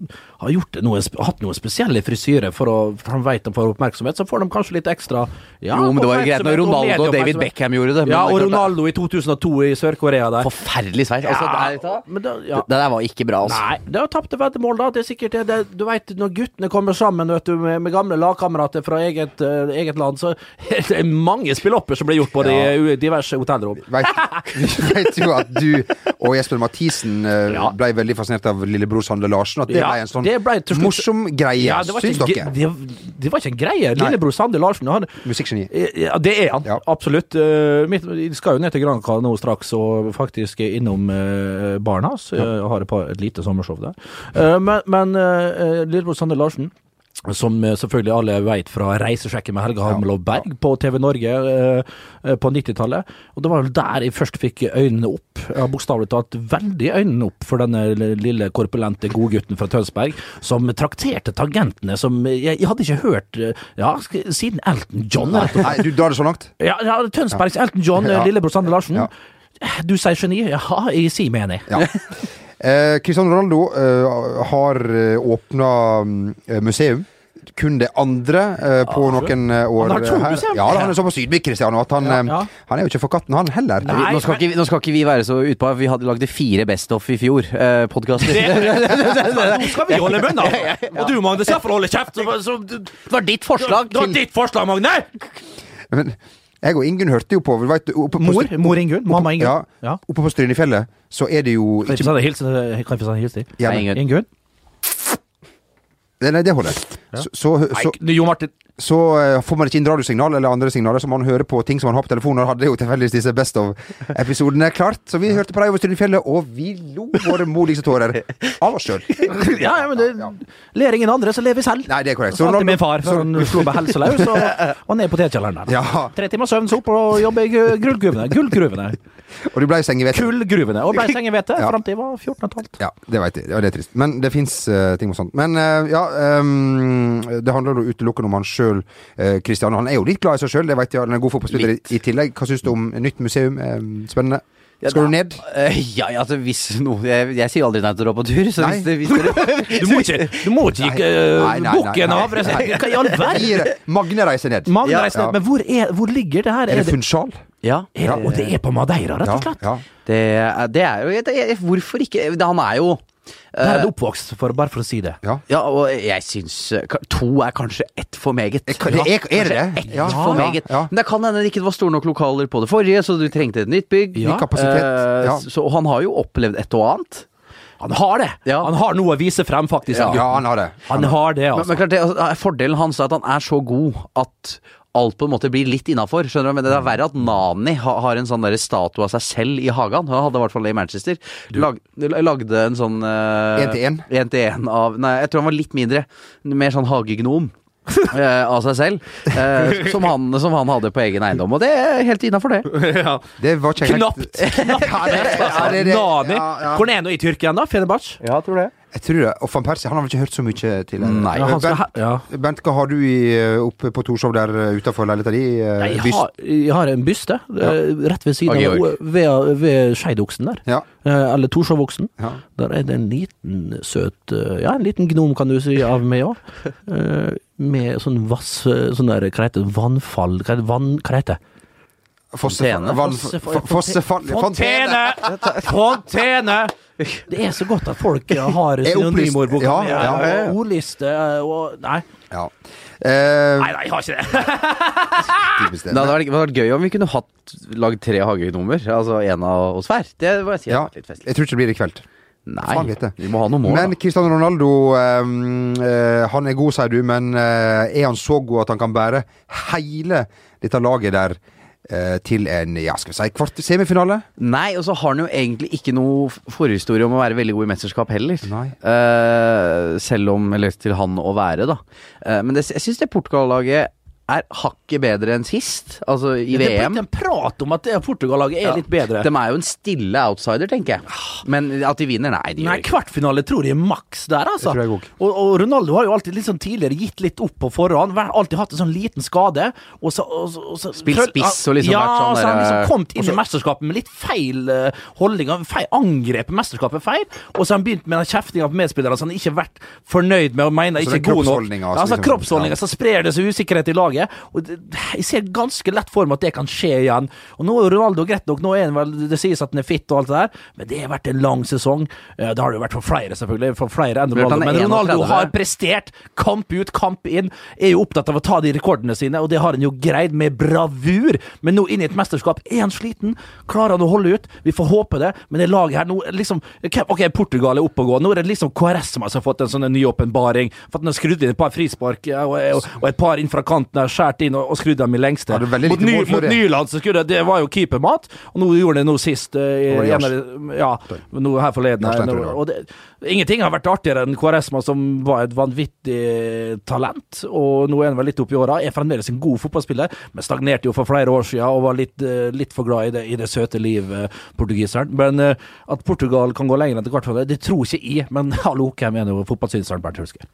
[SPEAKER 1] har gjort noe, sp- hatt noen spesielle frisyrer for å for han vet de får oppmerksomhet, så får de kanskje litt ekstra ja,
[SPEAKER 3] jo, men det var jo greit når
[SPEAKER 1] oppmerksomhet og
[SPEAKER 3] Ronaldo og David
[SPEAKER 1] medieoppmerksomhet.
[SPEAKER 3] Beckham gjorde det. men det
[SPEAKER 1] Ja,
[SPEAKER 3] er
[SPEAKER 1] og
[SPEAKER 3] klart det er
[SPEAKER 1] Ronaldo i 2002 i Sør-Korea der.
[SPEAKER 3] Forferdelig sveis. Altså,
[SPEAKER 1] Ja,
[SPEAKER 3] det, er,
[SPEAKER 1] men da, ja.
[SPEAKER 3] det der var ikke bra, altså.
[SPEAKER 1] Nei, det er jo tapte veddemål, da. Det er sikkert det, det. Du veit når guttene kommer sammen vet du, med, med gamle lagkamerater fra eget, eh, eget land, så *laughs* er det mange spillopper som blir gjort på de eh, diverse hotellrom.
[SPEAKER 2] Vet- *laughs* Vi vet jo at du og Jesper Mathisen eh,
[SPEAKER 1] Ja.
[SPEAKER 2] ble veldig fascinert av lillebror Sande Larsen. At det
[SPEAKER 1] Ja,
[SPEAKER 2] ble en sånn
[SPEAKER 1] det ble til slutt-
[SPEAKER 2] morsom greie,
[SPEAKER 1] Ja, det, var
[SPEAKER 2] syns
[SPEAKER 1] ikke,
[SPEAKER 2] dere?
[SPEAKER 1] en gre- det, det var ikke en greie. Lillebror Sander Larsen han,
[SPEAKER 2] Musikkgeni.
[SPEAKER 1] *laughs* Ja, det er han.
[SPEAKER 2] Ja.
[SPEAKER 1] Absolutt. Eh, mitt- Vi skal jo ned til Granca nå straks, og faktisk er innom eh, baren hans. Jeg har et, par, et lite sommershow der. Eh, men men eh, eh, Lillebror Sander Larsen som eh, selvfølgelig alle vet fra Reisesjekken med Helge Hamelov Berg på TV Norge eh, eh, på 90-tallet. Og det var vel der jeg først fikk øynene opp, ja, bokstavelig talt veldig øynene opp, for denne lille korpulente godgutten fra Tønsberg som trakterte tangentene som eh, jeg, jeg hadde ikke hørt eh, ja, sk- siden Elton John. rett og slett.
[SPEAKER 2] Nei, du drar det så langt?
[SPEAKER 1] Ja, ja Tønsbergs Elton John,
[SPEAKER 2] Ja.
[SPEAKER 1] lillebror Sander Larsen.
[SPEAKER 2] Ja.
[SPEAKER 1] Du sier geni, jaha, jeg sier meg *laughs* enig.
[SPEAKER 2] Eh, Cristiano Ronaldo eh, har åpna museum. Kun det andre eh, på
[SPEAKER 1] Ah,
[SPEAKER 2] noen eh, år.
[SPEAKER 1] Han har to
[SPEAKER 2] her.
[SPEAKER 1] museum?
[SPEAKER 2] Ja, da, han er såpass ydmyk, Cristiano, at han,
[SPEAKER 1] Ja,
[SPEAKER 2] eh,
[SPEAKER 1] ja.
[SPEAKER 2] han er jo ikke for katten, han heller.
[SPEAKER 1] Nei,
[SPEAKER 3] nå, skal
[SPEAKER 1] men-
[SPEAKER 3] ikke, nå skal ikke vi være så utpå. Vi hadde lagd det fire Best Off i fjor. Eh, podkaster.
[SPEAKER 1] Nå skal vi holde munn, altså. Og du, Magne, skal iallfall holde kjeft. Så, så,
[SPEAKER 3] Det var ditt forslag
[SPEAKER 1] det var
[SPEAKER 3] til
[SPEAKER 1] ditt forslag, Magne!
[SPEAKER 2] Men jeg og Ingunn hørte jo på, vi vet, oppe på
[SPEAKER 1] Mor, mor Ingunn. Mamma Ingunn.
[SPEAKER 2] Ja, oppe på Strynefjellet så er det jo
[SPEAKER 1] Kan jeg
[SPEAKER 2] ikke
[SPEAKER 1] få sende hilsen kan jeg få sende en hilsen til
[SPEAKER 2] ja,
[SPEAKER 3] Nei,
[SPEAKER 2] men-
[SPEAKER 3] Ingunn.
[SPEAKER 1] Ingunn?
[SPEAKER 2] Nei, nei, det holder. Så, så, så,
[SPEAKER 1] Nei, Jo Martin.
[SPEAKER 2] så eh, får man ikke inn radiosignal eller andre signaler, så man hører på ting som man har på telefonen. Og hadde jo tilfeldigvis disse Best of-episodene klart. Så vi hørte på deg over Strynefjellet, og vi lo våre moligste tårer av oss sjøl.
[SPEAKER 1] Ja, ja, men det, ler ingen andre, så lever vi selv.
[SPEAKER 2] Nei, det er korrekt.
[SPEAKER 1] Så til min
[SPEAKER 2] Ronaldo-
[SPEAKER 1] far, for han
[SPEAKER 2] så-
[SPEAKER 1] slo meg helseløs, og, og ned i potetkjelleren der.
[SPEAKER 2] Ja,
[SPEAKER 1] Tre timer søvn, så opp og jobbe i gu- gullgruvene. Gullgruvene.
[SPEAKER 2] og du blei sengevett.
[SPEAKER 1] Kullgruvene. Og ble sengehvete
[SPEAKER 2] Ja.
[SPEAKER 1] fram til jeg var 14 15.
[SPEAKER 2] Ja, det veit jeg. Ja, det er trist. Men det fins ting og sånt. Men eh, ja, ehm, det handler jo utelukkende om han sjøl, Kristian. han er jo litt glad i seg sjøl, det veit jeg. Han er god fotballspiller i, i tillegg. Hva syns du om nytt museum? Eh, spennende. Skal du ned?
[SPEAKER 3] Eh, Ja, ja, altså hvis noe Jeg, jeg sier jo aldri nei til å dra på tur, så
[SPEAKER 2] Nei.
[SPEAKER 3] hvis, det, hvis
[SPEAKER 2] *laughs*
[SPEAKER 3] dere
[SPEAKER 1] Du må ikke, du må ikke
[SPEAKER 2] Nei, nei,
[SPEAKER 1] uh,
[SPEAKER 2] nei,
[SPEAKER 1] bukken
[SPEAKER 2] nei.
[SPEAKER 1] av! det er- Hva i
[SPEAKER 2] *laughs*
[SPEAKER 1] all verden?
[SPEAKER 2] Gir Magne reiser ned.
[SPEAKER 1] Magne
[SPEAKER 3] Ja,
[SPEAKER 1] reiser ned,
[SPEAKER 2] ja.
[SPEAKER 1] Men hvor, er, hvor ligger det her?
[SPEAKER 2] er det Funchal?
[SPEAKER 3] Ja.
[SPEAKER 1] er det, og det er på Madeira, rett og slett?
[SPEAKER 2] ja.
[SPEAKER 3] Det, er- det er jo det er, Hvorfor ikke? Det- Han er jo eh,
[SPEAKER 1] Der er det oppvokst, for, bare for å si det.
[SPEAKER 3] Ja, og jeg syns eh, ka- to er kanskje ett for meget.
[SPEAKER 2] Er, er, er det det?
[SPEAKER 3] Ett for meget.
[SPEAKER 2] Ja,
[SPEAKER 3] Men det kan hende det ikke var store nok lokaler på det forrige, så du trengte et nytt bygg.
[SPEAKER 2] Ny kapasitet,
[SPEAKER 3] Eh,
[SPEAKER 2] ja.
[SPEAKER 3] Så og han har jo opplevd et og annet.
[SPEAKER 1] Han har det!
[SPEAKER 3] Ja.
[SPEAKER 1] Han har noe å vise frem, faktisk.
[SPEAKER 2] ja.
[SPEAKER 1] den
[SPEAKER 2] ja,
[SPEAKER 1] gutten.
[SPEAKER 2] han har det.
[SPEAKER 1] Han har det,
[SPEAKER 3] Men,
[SPEAKER 1] altså.
[SPEAKER 3] men klart det, altså, Fordelen hans er at han er så god at alt på en måte blir litt innafor. Skjønner du? Men det er verre at Nani ha, har en sånn der statue av seg selv i hagen. Han hadde i hvert fall det i Manchester. Lag, lagde en sånn eh,
[SPEAKER 2] En til en?
[SPEAKER 3] en til en av Nei, jeg tror han var litt mindre. Mer sånn
[SPEAKER 2] *laughs*
[SPEAKER 3] hagegnom. eh, av seg selv. eh, som, han, som han hadde på egen eiendom. Og det er helt innafor, det.
[SPEAKER 2] Det var ikke helt-
[SPEAKER 1] Knapt! Knapt.
[SPEAKER 2] *laughs*
[SPEAKER 1] altså.
[SPEAKER 2] Ja, det, ja, det, det,
[SPEAKER 1] Nani.
[SPEAKER 2] ja, ja.
[SPEAKER 1] Hvor er nå i Tyrkia ennå? Fenerbahçe?
[SPEAKER 3] Ja, tror det.
[SPEAKER 2] Jeg tror det. Og van Persie han har vel ikke hørt så mye til?
[SPEAKER 3] Nei.
[SPEAKER 1] Ja, han skal
[SPEAKER 2] Bent,
[SPEAKER 1] ha- ja.
[SPEAKER 2] Bent, hva har du i, eh, oppe på Torshov der utafor leiligheta di? Eh,
[SPEAKER 1] Nei, jeg,
[SPEAKER 2] byst?
[SPEAKER 1] har, jeg har en byste eh, rett ved siden
[SPEAKER 3] Av
[SPEAKER 1] av
[SPEAKER 3] Georg.
[SPEAKER 1] ved, ved Skeidoksen der.
[SPEAKER 2] Ja.
[SPEAKER 1] Eh, eller Torshovoksen.
[SPEAKER 2] Ja.
[SPEAKER 1] Der er det en liten søt eh, Ja, en liten gnom, kan du si, av meg òg. Eh, med sånn vass... eh, Sånn der, hva heter det, vannfall Hva heter det? Vann... Hva heter det?
[SPEAKER 2] Fossefall
[SPEAKER 3] Fontene.
[SPEAKER 2] vann-
[SPEAKER 1] Fossefall-
[SPEAKER 2] fo- fossefall- Fontene!
[SPEAKER 1] *laughs* Fontene! Det er så godt at folk eh, har
[SPEAKER 2] Er opplyst.
[SPEAKER 1] synonymordboka
[SPEAKER 2] Ja,
[SPEAKER 1] mi,
[SPEAKER 2] ja, ja, ja.
[SPEAKER 1] og ordliste eh, og Nei,
[SPEAKER 2] Ja. Eh,
[SPEAKER 1] nei, nei, jeg har ikke det.
[SPEAKER 2] typisk det.
[SPEAKER 3] Det hadde vært, det hadde vært gøy om vi kunne hatt lagd tre hagegnomer. Altså en av oss hver. Det var jeg sier,
[SPEAKER 2] Ja,
[SPEAKER 3] hadde vært litt festlig.
[SPEAKER 2] jeg tror ikke det blir i kveld. Faen
[SPEAKER 3] Nei,
[SPEAKER 2] vet jeg.
[SPEAKER 3] vi må ha noe mål.
[SPEAKER 2] Men
[SPEAKER 3] da.
[SPEAKER 2] Cristiano Ronaldo eh, eh, Han er god, sier du, men eh, er han så god at han kan bære hele dette laget der eh, til en ja, skal vi si, kvart semifinale?
[SPEAKER 3] Nei, og så har han jo egentlig ikke noe f- forhistorie om å være veldig god i mesterskap heller.
[SPEAKER 2] Nei.
[SPEAKER 3] Eh, selv om Eller til han å være, da. Eh, men det, jeg syns det Portugal-laget er hakket bedre enn sist, altså i
[SPEAKER 1] *laughs* Det er
[SPEAKER 3] VM.
[SPEAKER 1] blitt en prat om at det Portugal-laget er
[SPEAKER 3] Ja.
[SPEAKER 1] litt bedre.
[SPEAKER 3] De er jo en stille outsider, tenker jeg. Men at de vinner, nei. De gjør
[SPEAKER 1] Nei,
[SPEAKER 3] ikke.
[SPEAKER 1] kvartfinale tror jeg er maks der, altså.
[SPEAKER 2] Det tror jeg òg.
[SPEAKER 1] og, og Ronaldo har jo alltid litt sånn tidligere gitt litt opp på forhånd. vært- Alltid hatt en sånn liten skade. Og så, og så, og så
[SPEAKER 3] Spilt
[SPEAKER 1] prøv-
[SPEAKER 3] spiss og liksom
[SPEAKER 1] ja,
[SPEAKER 3] vært sånn
[SPEAKER 1] så har han
[SPEAKER 3] der,
[SPEAKER 1] liksom kommet inn i mesterskapet med litt feil eh, holdning. og Feil, angrep mesterskapet feil. Og så har han begynt med den kjeftinga på medspillere som han ikke har vært fornøyd med og mener ikke
[SPEAKER 2] Altså, den
[SPEAKER 1] er god nok.
[SPEAKER 2] kroppsholdningen,
[SPEAKER 1] Ja,
[SPEAKER 2] altså,
[SPEAKER 1] altså,
[SPEAKER 2] liksom.
[SPEAKER 1] kroppsholdninga.
[SPEAKER 2] Ja.
[SPEAKER 1] Så sprer det seg usikkerhet i laget. Og det, jeg ser ganske lett for meg at det kan skje igjen. Og nå er Ronaldo greit nok, nå er han vel, det sies at han er fit og alt det der, men det har vært en lang sesong. Eh, Det har det jo vært for flere, selvfølgelig. For flere enn
[SPEAKER 3] Klart
[SPEAKER 1] Ronaldo.
[SPEAKER 3] han er
[SPEAKER 1] Men Ronaldo
[SPEAKER 3] 31.
[SPEAKER 1] har prestert. Kamp ut, kamp inn. Er jo opptatt av å ta de rekordene sine, og det har han jo greid med bravur. Men nå inn i et mesterskap er han sliten. Klarer han å holde ut? Vi får håpe det, men det laget her nå er liksom Ok, Portugal er oppe og gå. Nå er det liksom KRS som har fått en sånn en ny åpenbaring. For at han har skrudd inn et par frispark ja, og, og, og et par inn fra kanten, har skåret inn og, og skrudd dem i lengste.
[SPEAKER 2] Hadde veldig
[SPEAKER 1] Mot,
[SPEAKER 2] lite
[SPEAKER 1] ny,
[SPEAKER 2] mål for
[SPEAKER 1] mot
[SPEAKER 2] det.
[SPEAKER 1] Nyland så skulle det, det var jo keepermat, og nå gjorde han det nå sist. eh, i-
[SPEAKER 2] Over
[SPEAKER 1] en
[SPEAKER 2] Jars.
[SPEAKER 1] av de- Ja, nå her forleden.
[SPEAKER 2] Jars
[SPEAKER 1] her,
[SPEAKER 2] Lentro,
[SPEAKER 1] nå-
[SPEAKER 2] ja.
[SPEAKER 1] og det, ingenting har vært artigere enn Kvaresma, som var et vanvittig talent. Og nå er han vel litt oppi åra. Er fremdeles en god fotballspiller, men stagnerte jo for flere år siden og var litt, eh, litt for glad i det, i det søte liv, eh, portugiseren. Men eh, at *laughs* Portugal kan gå lenger enn til kvartfinale, det tror ikke jeg. Men hallo, hvem er nå fotballsynseren Bernt Hulsker?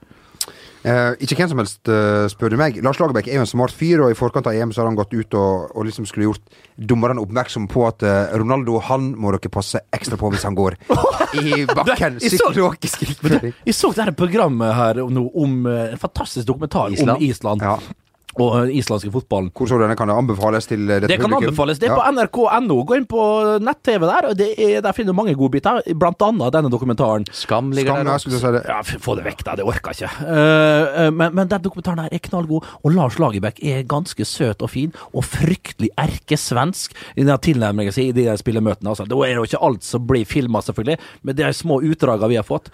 [SPEAKER 2] Eh, ikke hvem som helst, eh, spør du meg. Lars Lagerbäck er jo en smart fyr, og i forkant av EM så har han gått ut og, og liksom skulle gjort dommerne oppmerksom på at eh, Ronaldo, han må dere passe ekstra på hvis han går i
[SPEAKER 1] *laughs*
[SPEAKER 2] bakken.
[SPEAKER 1] Det- i så-
[SPEAKER 2] Psykologisk krigføring.
[SPEAKER 1] Jeg så det her programmet her om noe om eh, en fantastisk dokumentar
[SPEAKER 3] Island.
[SPEAKER 1] om Island
[SPEAKER 2] Ja.
[SPEAKER 1] og den islandske fotballen.
[SPEAKER 2] Hvor så du denne? Kan det anbefales til eh, dette
[SPEAKER 1] Det kan
[SPEAKER 2] publikum?
[SPEAKER 1] anbefales. Det er
[SPEAKER 2] Ja.
[SPEAKER 1] på nrk.no. Gå inn på nett-TV der, og det er, der finner du mange godbiter. Blant annet denne dokumentaren.
[SPEAKER 3] Skam ligger
[SPEAKER 2] Skam, ja,
[SPEAKER 3] der.
[SPEAKER 2] skulle du si det.
[SPEAKER 1] Ja, f- få det vekk, da. Det orker jeg ikke. Eh, eh, men, men den dokumentaren her er knallgod, og Lars Lagerbäck er ganske søt og fin, og fryktelig erkesvensk i den tilnærmingen sin i de der spillemøtene. Altså. Da er det jo ikke alt som blir filma, selvfølgelig, men det er små utdragene vi har fått.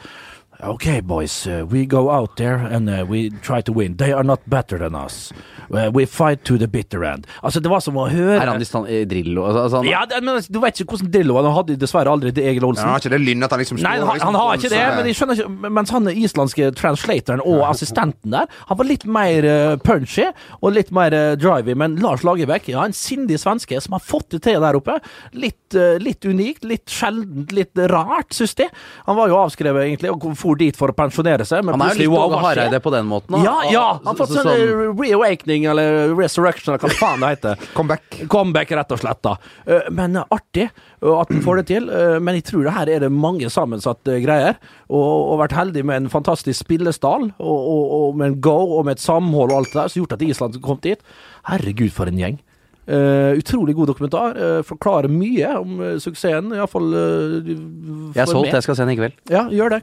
[SPEAKER 1] Ok, boys, uh, we go out there and uh, we try to win. They are not better than us. Uh, we fight to the bitter end. Altså, det var som å høre
[SPEAKER 3] Er han i stand i Drillo? Altså, altså, han-
[SPEAKER 1] Ja, det- men altså, du vet ikke hvordan Drillo Han hadde dessverre aldri det Egil Olsen.
[SPEAKER 2] Han har ikke det lynnet at han liksom
[SPEAKER 1] Nei,
[SPEAKER 2] står
[SPEAKER 1] han,
[SPEAKER 2] liksom
[SPEAKER 1] han har
[SPEAKER 2] på en
[SPEAKER 1] ikke det,
[SPEAKER 2] sånn,
[SPEAKER 1] men jeg skjønner ikke Mens han islandske translatoren og assistenten der, han var litt mer eh, punchy og litt mer eh, drivey, men Lars Lagerbäck, ja, en sindig svenske som har fått det til der oppe. Litt, eh, litt unikt, litt sjeldent, litt rart, syns de. Han var jo avskrevet, egentlig, og for dit for å pensjonere seg, men
[SPEAKER 3] Han er jo
[SPEAKER 1] plutselig
[SPEAKER 3] litt
[SPEAKER 1] wow,
[SPEAKER 3] Åge
[SPEAKER 1] hva skjer?
[SPEAKER 3] Hareide på den måten. da.
[SPEAKER 1] Ja, ja! Han har
[SPEAKER 3] Så-
[SPEAKER 1] fått
[SPEAKER 3] så-
[SPEAKER 1] sånn eh, reawakening, eller resurrection, eller hva faen det heter.
[SPEAKER 2] Comeback.
[SPEAKER 1] Comeback, rett og slett. da Eh, Men eh, artig eh, at den får det til. eh, Men jeg tror det her er det mange sammensatte eh, greier. Og, og vært heldig med en fantastisk spillestall, og, og, og med en go og med et samhold og alt det der, som gjort at Island kom dit. Herregud, for en gjeng. Eh, utrolig god dokumentar. eh, forklarer mye om uh, suksessen. Iallfall uh,
[SPEAKER 3] Jeg er solgt, jeg skal se den i kveld.
[SPEAKER 1] Ja, gjør det.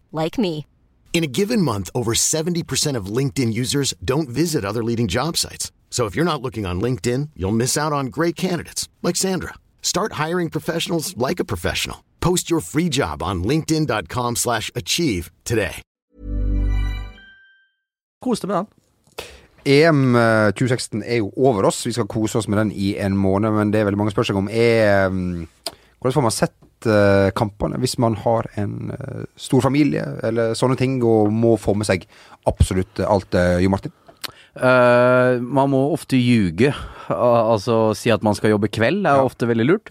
[SPEAKER 5] like me.
[SPEAKER 6] In a given month, over 70% of LinkedIn users don't visit other leading job sites. So if you're not looking on LinkedIn, you'll miss out on great candidates like Sandra. Start hiring professionals like a professional. Post your free job on linkedin.com/achieve slash achieve today.
[SPEAKER 1] Kos deg med den.
[SPEAKER 2] EM eh, 2016 er jo over oss. Vi skal kose oss med den i en måned, men det er veldig mange spør seg om er mm, Hvordan får man sett eh, kampene hvis man har en eh, stor familie eller sånne ting og må få med seg absolutt alt, eh, Jo Martin?
[SPEAKER 3] Eh, man må ofte ljuge. Al- Altså si at man skal jobbe kveld, er ofte veldig lurt.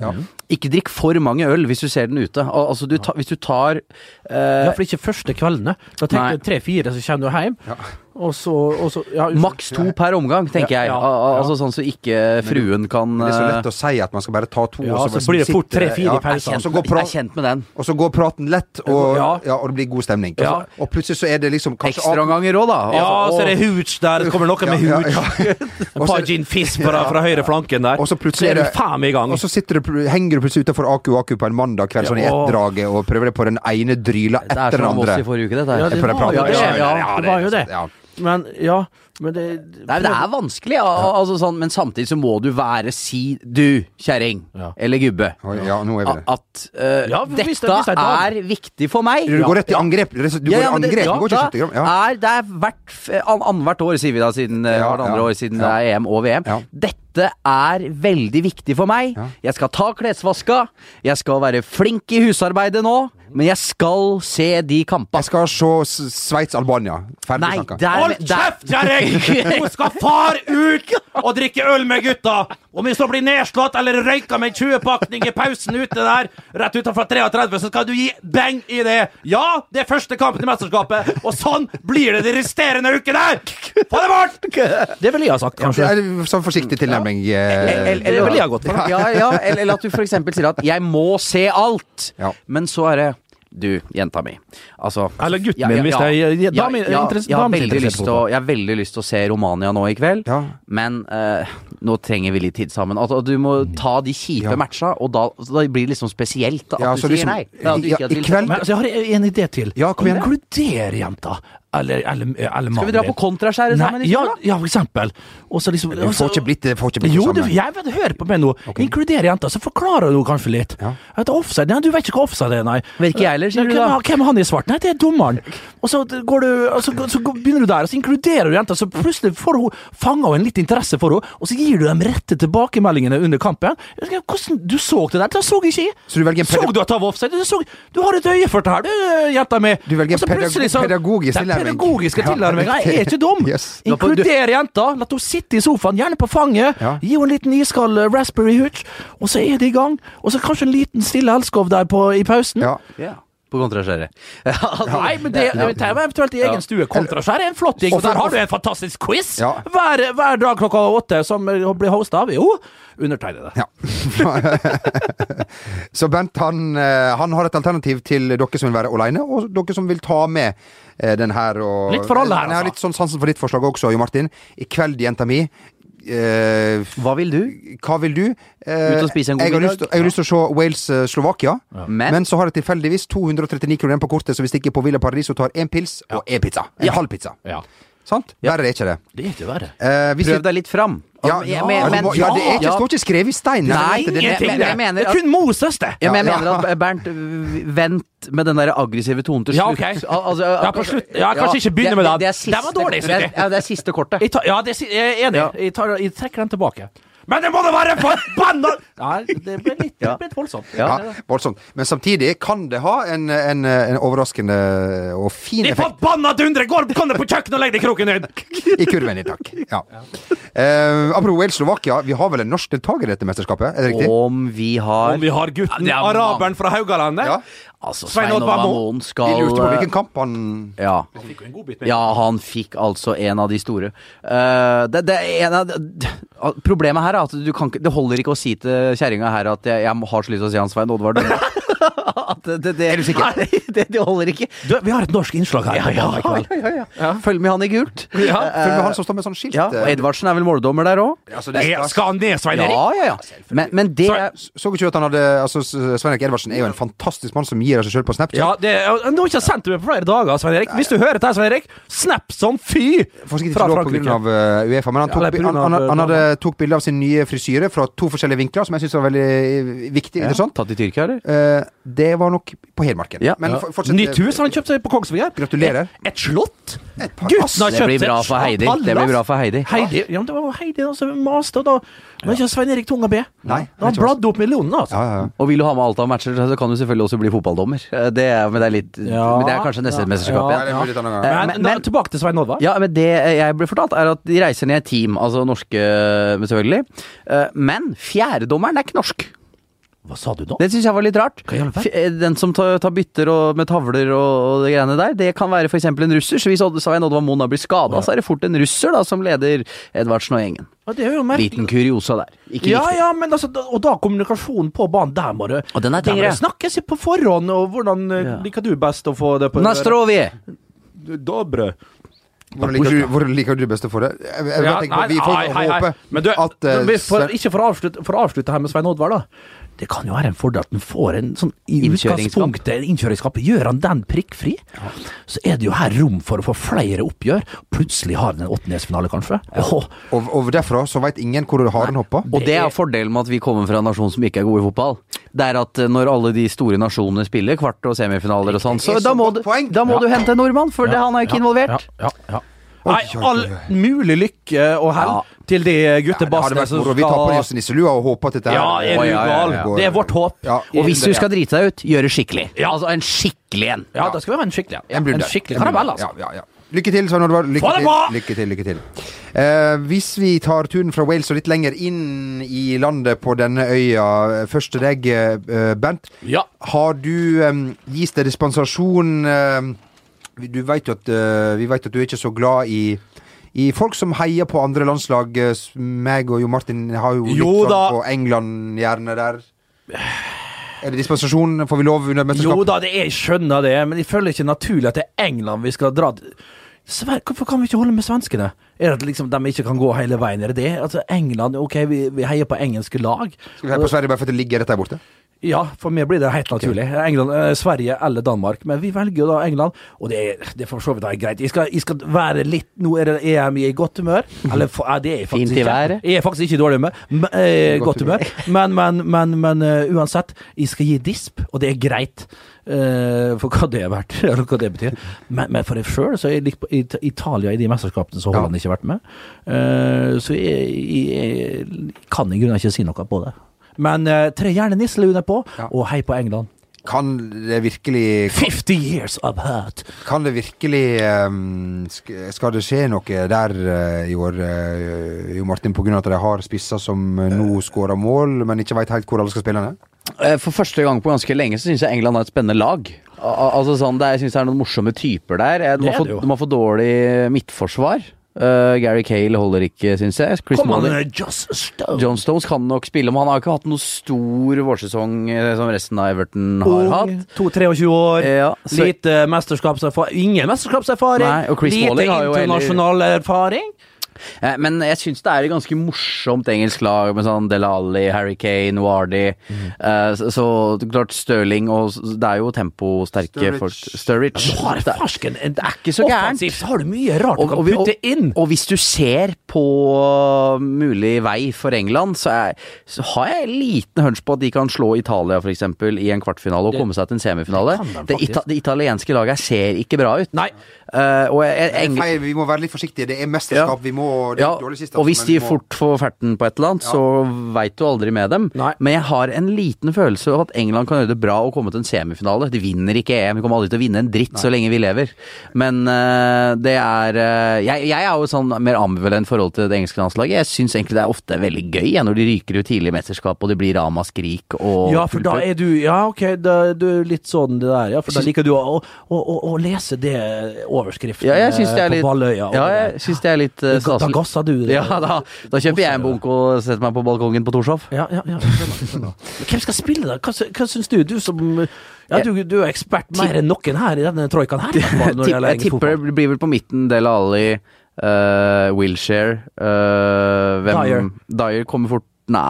[SPEAKER 3] Ikke drikk for mange øl hvis du ser den ute. Al- Altså du ta, Hvis du tar eh,
[SPEAKER 1] Ja, for ikke første kveldene. Da
[SPEAKER 3] Nei.
[SPEAKER 1] tenker du tre-fire, så kommer du hjem, og så, og så ja,
[SPEAKER 3] maks to per omgang, tenker
[SPEAKER 1] Ja,
[SPEAKER 3] jeg.
[SPEAKER 1] ja,
[SPEAKER 3] Al- al-
[SPEAKER 1] ja.
[SPEAKER 3] Altså sånn så ikke fruen kan
[SPEAKER 2] Det er så
[SPEAKER 3] eh,
[SPEAKER 2] lett å si at man skal bare ta to,
[SPEAKER 1] Ja,
[SPEAKER 2] og
[SPEAKER 1] så
[SPEAKER 2] så, liksom
[SPEAKER 1] blir det fort
[SPEAKER 2] sitter-
[SPEAKER 1] tre-fire i pausen.
[SPEAKER 2] og så går pra-
[SPEAKER 3] Jeg er kjent med den.
[SPEAKER 2] og så går praten lett, og, ja.
[SPEAKER 1] Ja.
[SPEAKER 2] og det blir god stemning.
[SPEAKER 1] Ja.
[SPEAKER 2] Og plutselig så er det liksom kanskje
[SPEAKER 3] Ekstraomganger òg, da.
[SPEAKER 1] Altså, Ja,
[SPEAKER 3] Altså,
[SPEAKER 1] så er det
[SPEAKER 3] og-
[SPEAKER 1] hooch der. Det kommer noe med
[SPEAKER 2] Ja,
[SPEAKER 1] hooch. *laughs*
[SPEAKER 2] ja, ja.
[SPEAKER 1] Et par gin fizz fra, fra høyre flanken der.
[SPEAKER 2] Og så plutselig
[SPEAKER 1] er
[SPEAKER 2] er
[SPEAKER 1] du
[SPEAKER 2] det-
[SPEAKER 1] faen meg i gang.
[SPEAKER 2] Og så sitter du, pl- henger du plutselig utenfor Aku Aku på en mandag kveld sånn i
[SPEAKER 1] Ja.
[SPEAKER 2] ett draget og prøver det på den ene dryla
[SPEAKER 3] Det er sånn
[SPEAKER 2] etter den
[SPEAKER 3] som
[SPEAKER 2] andre.
[SPEAKER 3] Voss i forrige uke, dette her.
[SPEAKER 1] Ja, det
[SPEAKER 2] på den
[SPEAKER 1] var jo
[SPEAKER 2] praten.
[SPEAKER 1] det.
[SPEAKER 2] Ja, ja,
[SPEAKER 1] Ja, det var jo det.
[SPEAKER 2] Ja.
[SPEAKER 1] Men ja, men det
[SPEAKER 3] Nei, men det er vanskelig, al- altså sånn, men samtidig så må du være si du, kjerring,
[SPEAKER 1] Ja.
[SPEAKER 3] eller gubbe,
[SPEAKER 2] Oi, ja, nå er vi
[SPEAKER 3] a-
[SPEAKER 2] det.
[SPEAKER 3] at eh,
[SPEAKER 1] Ja, hvis det- hvis det
[SPEAKER 3] dette
[SPEAKER 1] er dag.
[SPEAKER 3] er viktig for meg.
[SPEAKER 2] Du går rett i angrep. Du går i
[SPEAKER 3] men det- Ah,
[SPEAKER 2] angrep. Du går ikke
[SPEAKER 3] da
[SPEAKER 2] i skyttergrav. Ja.
[SPEAKER 3] Er, det er hvert f- eh, an, annethvert år, sier vi da, siden eh,
[SPEAKER 2] Ja,
[SPEAKER 3] hvert andre
[SPEAKER 2] ja,
[SPEAKER 3] år siden
[SPEAKER 2] ja.
[SPEAKER 3] det er EM og VM.
[SPEAKER 2] Ja.
[SPEAKER 3] Dette er veldig viktig for meg.
[SPEAKER 2] Ja.
[SPEAKER 3] Jeg skal ta klesvaska. Jeg skal være flink i husarbeidet nå, men jeg skal se de kampa.
[SPEAKER 2] Jeg skal se Sveits-Albania. Ferdig
[SPEAKER 3] Nei,
[SPEAKER 2] snakka.
[SPEAKER 3] der
[SPEAKER 1] Hold
[SPEAKER 3] der-
[SPEAKER 1] kjeft, kjerring!
[SPEAKER 2] *laughs*
[SPEAKER 1] Nå skal far ut og drikke øl med gutta! Om vi så blir nedslått eller røyka med en 20-pakning i pausen ute der, rett utenfor 33, så skal du gi beng i det! Ja, det er første kampen i mesterskapet, og sånn blir det de resterende ukene! Få det
[SPEAKER 2] *laughs*
[SPEAKER 1] bort! Det ville jeg ha sagt, kanskje.
[SPEAKER 2] Sånn forsiktig tilnærming.
[SPEAKER 3] Eller-
[SPEAKER 2] eh,
[SPEAKER 3] eller-
[SPEAKER 1] Det ville jeg ha gått for.
[SPEAKER 3] Ja, ja, eller, eller at du f.eks. sier at 'jeg må se alt',
[SPEAKER 2] Ja.
[SPEAKER 3] men så er det du, jenta mi. Altså
[SPEAKER 1] Eller gutten min, hvis det er- ja, dame- interesse-
[SPEAKER 3] jeg, har
[SPEAKER 1] dames
[SPEAKER 3] veldig
[SPEAKER 1] interessert
[SPEAKER 3] lyst til å, jeg har veldig lyst til å se Romania nå i kveld,
[SPEAKER 2] Ja.
[SPEAKER 3] men eh, nå trenger vi litt tid sammen. Altså, du må ta de kjipe
[SPEAKER 2] Ja.
[SPEAKER 3] matcha, og da, så da blir det liksom spesielt at
[SPEAKER 2] Ja,
[SPEAKER 3] du
[SPEAKER 2] så
[SPEAKER 3] sier
[SPEAKER 2] liksom-
[SPEAKER 3] nei. Ja, at du
[SPEAKER 2] ja,
[SPEAKER 3] ikke
[SPEAKER 2] i
[SPEAKER 3] har tillit.
[SPEAKER 2] kveld-
[SPEAKER 1] Men, så jeg har en idé til.
[SPEAKER 2] Ja, kom igjen.
[SPEAKER 1] Inkluder jenta. Eller, eller, eller
[SPEAKER 3] Skal vi dra på kontraskjæret sammen? i
[SPEAKER 1] Ja,
[SPEAKER 3] kveld, da?
[SPEAKER 1] ja, for eksempel. Og så liksom,
[SPEAKER 2] Du får ikke blitt det får ikke blitt det
[SPEAKER 1] jo, du,
[SPEAKER 2] samme.
[SPEAKER 1] jeg vet, hør på meg nå. Inkluder jenta, så forklarer du kanskje litt.
[SPEAKER 2] Ja.
[SPEAKER 1] At offside, nei, Du vet ikke hva offside er, nei.
[SPEAKER 3] Vet ikke jeg heller, sier
[SPEAKER 1] Nei,
[SPEAKER 3] du
[SPEAKER 1] hvem,
[SPEAKER 3] da.
[SPEAKER 1] Hvem er han i svart? Nei, det er dommeren. Og så, går du, og så, så begynner du der, og så inkluderer du jenta, så plutselig får hun fanga en litt interesse for henne, og så gir du dem rette tilbakemeldingene under kampen. Jeg vet ikke Hvordan du så det der? Det så ikke jeg.
[SPEAKER 2] Så du velger en
[SPEAKER 1] så
[SPEAKER 2] pedag-
[SPEAKER 1] du at han var offside? Du, så, du har et øye for det her, du, jenta mi.
[SPEAKER 2] Du velger
[SPEAKER 1] Og så
[SPEAKER 2] en pedag-
[SPEAKER 1] plutselig så-
[SPEAKER 2] pedagogisk
[SPEAKER 1] Det er
[SPEAKER 2] tilnærming.
[SPEAKER 1] pedagogiske
[SPEAKER 2] Ja,
[SPEAKER 1] tilnærming. Jeg er
[SPEAKER 2] riktig. *laughs*
[SPEAKER 1] ikke dum.
[SPEAKER 2] Yes.
[SPEAKER 1] Inkluder jenta. La henne sitte i sofaen, gjerne på fanget.
[SPEAKER 2] Ja.
[SPEAKER 1] Gi henne en liten iskald eh, raspberry hooch, og så er de i gang. Og så kanskje en liten stille elskov der på, i pausen.
[SPEAKER 2] Ja.
[SPEAKER 3] Ja, på kontraskjæret. *laughs* Altså,
[SPEAKER 1] Nei, men det, det tar vi eventuelt i egen stue. Kontraskjær er en flott ting, og der har du en fantastisk quiz
[SPEAKER 2] Ja.
[SPEAKER 1] hver, hver dag klokka åtte som eh, blir hosta av jo undertegnede.
[SPEAKER 2] Ja. *laughs* så Bent han, eh, han har et alternativ til dere som vil være aleine, og dere som vil ta med eh, den her. Og,
[SPEAKER 1] Litt for alle her,
[SPEAKER 2] Jeg har
[SPEAKER 1] altså.
[SPEAKER 2] litt sånn sansen for ditt forslag også, Jo Martin. I kveld, jenta mi. eh,
[SPEAKER 3] Hva vil du?
[SPEAKER 2] hva vil du? Eh,
[SPEAKER 3] Ut og spise en god
[SPEAKER 2] jeg har
[SPEAKER 3] middag?
[SPEAKER 2] lyst til- Jeg har lyst til å se Wales-Slovakia,
[SPEAKER 3] Men-
[SPEAKER 2] men. så har jeg tilfeldigvis 239 kroner igjen på kortet, så vi stikker på Villa Paradiso og tar én pils og én pizza. En halv pizza.
[SPEAKER 1] Ja.
[SPEAKER 2] Sant? Verre er ikke det.
[SPEAKER 1] Det er ikke verre.
[SPEAKER 2] Eh, hvis
[SPEAKER 3] Prøv
[SPEAKER 2] vi-
[SPEAKER 3] deg litt fram.
[SPEAKER 2] Ja,
[SPEAKER 3] Jeg-
[SPEAKER 2] ja,
[SPEAKER 3] men-
[SPEAKER 2] du
[SPEAKER 3] men-
[SPEAKER 2] må- ja, det er ikke,
[SPEAKER 3] Ja.
[SPEAKER 2] står ikke skrevet i stein.
[SPEAKER 3] Nei,
[SPEAKER 2] det- det-
[SPEAKER 3] ingenting.
[SPEAKER 1] Ingenting,
[SPEAKER 3] men- jeg mener
[SPEAKER 1] det.
[SPEAKER 3] at-
[SPEAKER 1] er kun Moses, det.
[SPEAKER 3] Ja, men jeg
[SPEAKER 2] Ja,
[SPEAKER 3] mener at eh, Bernt, v- vent med den der aggressive tonen til slutt.
[SPEAKER 1] Ja, ok.
[SPEAKER 3] Al- altså,
[SPEAKER 1] Ja, på slutt. Ja, kanskje ikke begynne med
[SPEAKER 3] det.
[SPEAKER 1] den.
[SPEAKER 3] Det, er
[SPEAKER 1] Den var
[SPEAKER 3] siste-
[SPEAKER 1] dårlig,
[SPEAKER 3] det, er-
[SPEAKER 1] Suki.
[SPEAKER 3] ja, det er siste kortet.
[SPEAKER 1] Jeg tar, ja, det, si- jeg er enig. Jeg, tar, jeg trekker den tilbake. Men det må da være forbanna Nei, det ble litt, det ble litt voldsomt.
[SPEAKER 2] Ja,
[SPEAKER 1] Det er det.
[SPEAKER 2] voldsomt. Men samtidig kan det ha en, en, en overraskende og fin
[SPEAKER 1] De
[SPEAKER 2] effekt
[SPEAKER 1] forbanna dundre! Gå kom deg på kjøkkenet og legg deg i kroken din!
[SPEAKER 2] *laughs* i kurven i dag. Ja. Eh, apropos Wales-Slovakia, vi har vel en norsk deltaker i dette mesterskapet? Er det riktig?
[SPEAKER 3] Om vi har
[SPEAKER 1] Om vi har gutten,
[SPEAKER 3] Ja, det er mann.
[SPEAKER 1] araberen fra Haugalandet
[SPEAKER 2] Ja.
[SPEAKER 3] Altså,
[SPEAKER 1] Svein
[SPEAKER 3] Svein Oddvar
[SPEAKER 1] Oddvar
[SPEAKER 3] Moen
[SPEAKER 2] Vi
[SPEAKER 3] skal
[SPEAKER 2] lurte på
[SPEAKER 3] eh,
[SPEAKER 2] hvilken kamp han
[SPEAKER 3] ja. ja, han fikk altså en av de store. Eh, det, det, er en av, d- problemet her er at du kan ikke Det holder ikke å si til kjerringa her at jeg, jeg har så lyst til å si han Svein Oddvar Døhme.
[SPEAKER 1] *laughs*
[SPEAKER 3] At det, det, det, er du sikker? Nei, *laughs* det, det holder ikke.
[SPEAKER 1] Du, vi har et norsk innslag her. Ja,
[SPEAKER 3] Følg med han i gult. Eh,
[SPEAKER 2] Følg med han som står med sånn skilt.
[SPEAKER 3] Ja, og
[SPEAKER 2] eh,
[SPEAKER 3] Edvardsen er vel måldommer der òg?
[SPEAKER 2] altså, det,
[SPEAKER 1] Jeg skal ned, Svein Erik!
[SPEAKER 3] Ja, ja, ja. Men, men det
[SPEAKER 1] Sorry.
[SPEAKER 2] så ikke du at han hadde altså, Svein Erik Edvardsen er jo en fantastisk mann som gir av seg sjøl på Snapchat.
[SPEAKER 1] Ja, det, og nå har jeg ikke sendt det på flere dager, Svein Erik. Hvis du hører dette, Svein Erik, snap som fy!
[SPEAKER 2] Forsiktig ikke lov på grunn av eh, Uefa, men han tok,
[SPEAKER 1] Eller på
[SPEAKER 2] bi-
[SPEAKER 1] grunn
[SPEAKER 2] han, han,
[SPEAKER 1] av, eh,
[SPEAKER 2] han hadde, tok bilde av sin nye frisyre fra to forskjellige vinkler, som jeg syns var veldig eh, viktig. Interessant.
[SPEAKER 3] Tatt i Tyrkia, eller?
[SPEAKER 2] Eh, det var nok på Hedmarken.
[SPEAKER 3] Ja.
[SPEAKER 2] Men
[SPEAKER 3] Ja.
[SPEAKER 2] for- fortsett.
[SPEAKER 1] Nytt hus har han kjøpt seg på Kongsvinger.
[SPEAKER 2] Gratulerer.
[SPEAKER 1] Et, et slott!
[SPEAKER 2] par-
[SPEAKER 1] Gutten har
[SPEAKER 2] Ass,
[SPEAKER 1] kjøpt seg
[SPEAKER 3] Det blir bra for
[SPEAKER 1] et slott,
[SPEAKER 3] Heidi.
[SPEAKER 1] palass.
[SPEAKER 3] Det blir bra for Heidi.
[SPEAKER 1] Heidi, ja, men det var jo Heidi da, som maste, og da var ikke Svein Erik tunga B.
[SPEAKER 2] Nei,
[SPEAKER 1] Da
[SPEAKER 2] jeg
[SPEAKER 1] han
[SPEAKER 2] tror
[SPEAKER 1] bladde opp millionene, altså.
[SPEAKER 2] Ja, ja, ja.
[SPEAKER 3] Og vil du ha med alt av matcher, så kan du selvfølgelig også bli fotballdommer. Eh, Det er, men det er, litt,
[SPEAKER 1] Ja.
[SPEAKER 3] men det er kanskje neste
[SPEAKER 1] Ja. Eh,
[SPEAKER 3] mesterskap
[SPEAKER 2] Ja, det
[SPEAKER 3] igjen.
[SPEAKER 2] er mulig en annen gang.
[SPEAKER 1] Men,
[SPEAKER 3] men-
[SPEAKER 1] da,
[SPEAKER 3] men-
[SPEAKER 1] tilbake til Svein Oddvar.
[SPEAKER 3] Ja, men det eh, jeg ble fortalt, er at de reiser ned i team, altså norske, eh, selvfølgelig. Eh, Men fjerdedommeren er ikke norsk.
[SPEAKER 1] Hva sa du nå?
[SPEAKER 3] Det syns jeg var litt rart.
[SPEAKER 1] i all verden?
[SPEAKER 3] F- eh, Den som tar, tar bytter og, med tavler og, og det greiene der, det kan være f.eks. en russer. Så hvis Odd- Svein Oddvar Moen da blir skada, så er det fort en russer da som leder Edvardsen og gjengen.
[SPEAKER 1] Ja, det er jo merkelig.
[SPEAKER 3] Liten kuriosa der. Ikke
[SPEAKER 1] ja,
[SPEAKER 3] viktig.
[SPEAKER 1] ja, men altså, da- og da kommunikasjonen på banen, der må det
[SPEAKER 3] Og den er
[SPEAKER 1] der må
[SPEAKER 3] tyngre.
[SPEAKER 1] det snakkes på forhånd, og hvordan eh,
[SPEAKER 3] Ja.
[SPEAKER 1] liker du best å få det på
[SPEAKER 3] Nastrovi!
[SPEAKER 1] Dobre.
[SPEAKER 2] Hvordan liker, du, hvordan liker du best å få det? Jeg, jeg, bare tenker på, vi får håpe
[SPEAKER 1] Men du,
[SPEAKER 2] at eh,
[SPEAKER 1] men for,
[SPEAKER 2] Svein-
[SPEAKER 1] ikke for å, avslutte, for å avslutte her med Svein Oddvar, da. Det kan jo være en fordel at en får en sånn i
[SPEAKER 3] Innkjøringskapp.
[SPEAKER 1] utgangspunktet en innkjøringskapp. Gjør han den prikkfri, så er det jo her rom for å få flere oppgjør. Plutselig har han en åttendedelsfinale, kanskje. Åh,
[SPEAKER 2] Og, og derfra så veit ingen hvor haren hopper.
[SPEAKER 3] Og det er fordelen med at vi kommer fra en nasjon som ikke er god i fotball. Det er at eh, når alle de store nasjonene spiller kvart og semifinaler og sånn, så
[SPEAKER 2] Det er
[SPEAKER 3] da
[SPEAKER 2] så
[SPEAKER 3] må,
[SPEAKER 2] godt
[SPEAKER 3] du,
[SPEAKER 2] poeng.
[SPEAKER 3] da må du hente en nordmann, for det, han er jo ikke involvert.
[SPEAKER 1] Ja, ja, ja.
[SPEAKER 2] Oi,
[SPEAKER 1] Nei,
[SPEAKER 2] oi, oi.
[SPEAKER 1] all mulig lykke og hell
[SPEAKER 3] Ja.
[SPEAKER 1] til de
[SPEAKER 2] Det hadde
[SPEAKER 1] guttebassene
[SPEAKER 2] vært moro. Vi tar på Jøssen Nisselua og håper at dette
[SPEAKER 1] Ja,
[SPEAKER 2] her-
[SPEAKER 1] er du
[SPEAKER 3] Oi, ja, ja,
[SPEAKER 1] gal?
[SPEAKER 3] ja.
[SPEAKER 1] Det er vårt håp.
[SPEAKER 2] Ja.
[SPEAKER 3] Og hvis du skal drite deg ut, gjør det skikkelig. Altså en skikkelig en.
[SPEAKER 1] Ja, da skal vi ha en skikkelig
[SPEAKER 2] En blunder.
[SPEAKER 1] skikkelig
[SPEAKER 2] En
[SPEAKER 1] karamell,
[SPEAKER 2] blunder.
[SPEAKER 1] altså.
[SPEAKER 2] Ja, ja, ja. Lykke til, Svein Oddvar. Lykke
[SPEAKER 1] Få det
[SPEAKER 2] til.
[SPEAKER 1] på!
[SPEAKER 2] lykke til. lykke til Eh, Hvis vi tar turen fra Wales og litt lenger inn i landet på denne øya, først til deg, eh, Bernt.
[SPEAKER 1] Ja.
[SPEAKER 2] Har du um, gis deg dispensasjon eh, Du vet jo at eh, Vi vet at du er ikke så glad i i folk som heier på andre landslag. Eh, s- meg og Jo Martin har jo,
[SPEAKER 1] Jo
[SPEAKER 2] litt
[SPEAKER 1] da.
[SPEAKER 2] sånn på England gjerne der. Er det dispensasjon? Får vi lov under
[SPEAKER 1] Jo
[SPEAKER 2] mesterskap?
[SPEAKER 1] da, det er, jeg skjønner det, men jeg føler ikke naturlig at det er England vi skal dra til. Sver Hvorfor kan vi ikke holde med svenskene? Er det at liksom de ikke kan gå hele veien? Er det det? Altså, England, ok, vi, vi heier på engelske lag.
[SPEAKER 2] Skal vi heie på Sverige bare for at det ligger rett der borte?
[SPEAKER 1] Ja, for meg blir det helt naturlig. England, eh, Sverige eller Danmark. Men vi velger jo da England, og det er, det er for så vidt er greit. Jeg skal, jeg skal være litt Nå er det EM i godt
[SPEAKER 2] *laughs*
[SPEAKER 1] humør. Eller for, eh, det er jeg faktisk
[SPEAKER 3] Fint i
[SPEAKER 1] ikke.
[SPEAKER 3] været.
[SPEAKER 1] Jeg er faktisk ikke i dårlig humør. men, eh,
[SPEAKER 2] Godt
[SPEAKER 1] godt humør. Men, men, men, men eh, uansett, jeg skal gi disp, og det er greit. Eh, for hva det er verdt, *laughs* eller hva det betyr. Men, men for sjøl så er jeg litt på It Italia i de mesterskapene så Holland ikke har vært med. Eh, så jeg, jeg, jeg kan i grunnen ikke si noe på det. Men eh, tre gjerne nisselue på, og hei på England.
[SPEAKER 2] Kan det virkelig
[SPEAKER 1] 50 years of hurt!
[SPEAKER 2] Kan det virkelig ehm, sk- Skal det skje noe der eh, i år, eh, Jo Martin, pga. at de har spisser som eh, nå skårer mål, men ikke veit helt hvor alle skal spille? henne?
[SPEAKER 3] Eh, For første gang på ganske lenge så syns jeg England har et spennende lag. Al- al- Altså sånn, det er, Jeg syns det er noen morsomme typer der. Eh, De har
[SPEAKER 1] Det er det
[SPEAKER 3] fått,
[SPEAKER 1] jo.
[SPEAKER 3] de har fått dårlig midtforsvar. Eh, Gary Cale holder ikke, syns jeg. Chris
[SPEAKER 1] Kom an,
[SPEAKER 3] Molly-
[SPEAKER 1] eh, Joss Stone!
[SPEAKER 3] John Stones kan nok spille, men han har ikke hatt noen stor vårsesong eh, som resten av Everton har hatt.
[SPEAKER 1] 2-23 år,
[SPEAKER 3] Ja, så-
[SPEAKER 1] lite mesterskapserfaring Ingen mesterskapserfaring!
[SPEAKER 3] Nei, og Chris
[SPEAKER 1] lite
[SPEAKER 3] Smalling har jo heller-
[SPEAKER 1] internasjonal erfaring!
[SPEAKER 3] Eh, Men jeg syns det er et ganske morsomt engelsk lag med sånn Dele Alli, Harry Kane, Wardy. Eh, Så, så klart Stirling og s- Det er jo temposterke
[SPEAKER 2] Sturridge.
[SPEAKER 3] folk. Sturridge.
[SPEAKER 1] Du har
[SPEAKER 3] Det er-
[SPEAKER 1] farsken en Det er
[SPEAKER 3] ikke så gærent.
[SPEAKER 1] Offensivt har du mye rart du kan
[SPEAKER 3] vi-
[SPEAKER 1] putte inn!
[SPEAKER 3] og hvis du ser på uh, mulig vei for England, så, er, så har jeg en liten hunch på at de kan slå Italia f.eks. i en kvartfinale og komme seg til en semifinale.
[SPEAKER 1] det kan de
[SPEAKER 3] Det, ita
[SPEAKER 1] faktisk.
[SPEAKER 3] det italienske laget her ser ikke bra ut.
[SPEAKER 1] Nei.
[SPEAKER 3] Eh, og jeg, jeg, Eng-
[SPEAKER 2] Feil, vi må være litt forsiktige. Det er mesterskap. Vi må, det er
[SPEAKER 3] ja,
[SPEAKER 2] dårlig sist,
[SPEAKER 3] og
[SPEAKER 2] altså,
[SPEAKER 3] hvis
[SPEAKER 2] men
[SPEAKER 3] de
[SPEAKER 2] vi må-
[SPEAKER 3] fort får ferten på et eller annet, så veit du aldri med dem.
[SPEAKER 1] Nei.
[SPEAKER 3] Men jeg har en liten følelse av at England kan gjøre det bra og komme til en semifinale. De vinner ikke EM, de kommer aldri til å vinne en dritt så lenge vi lever. Men eh, det er eh, jeg, jeg er jo sånn mer ambivalent forhold til det engelske landslaget. Jeg syns egentlig det er ofte veldig gøy jeg, når de ryker ut tidlig i mesterskap og det blir ramaskrik og
[SPEAKER 1] Ja, for da er du Ja, ok, da er du litt sånn det der, ja. For da liker du å, å, å, å lese det overskriften
[SPEAKER 3] ja, jeg syns det er
[SPEAKER 1] eh,
[SPEAKER 3] litt
[SPEAKER 1] på Balløya. og
[SPEAKER 3] Ja,
[SPEAKER 1] det der.
[SPEAKER 3] jeg syns det er litt eh,
[SPEAKER 1] Da gasser du det.
[SPEAKER 3] Ja, da, da kjøper jeg en bunk og setter meg på balkongen på Torshov.
[SPEAKER 1] Ja, ja, ja. jeg skjønner,
[SPEAKER 3] *laughs*
[SPEAKER 1] jeg skjønner. Men Hvem skal spille, da? Hva, sy- hva syns du? Du som ja, du, du er ekspert mer enn noen her i denne troikaen
[SPEAKER 3] *laughs*
[SPEAKER 1] her. i hvert fall, når det
[SPEAKER 3] Tipp,
[SPEAKER 1] gjelder
[SPEAKER 3] jeg
[SPEAKER 1] engelsk
[SPEAKER 3] tipper
[SPEAKER 1] fotball.
[SPEAKER 3] det blir vel på midten Del Alli, uh, Wilshere eh, hvem,
[SPEAKER 1] Dyer.
[SPEAKER 3] Dyer kommer fort Nei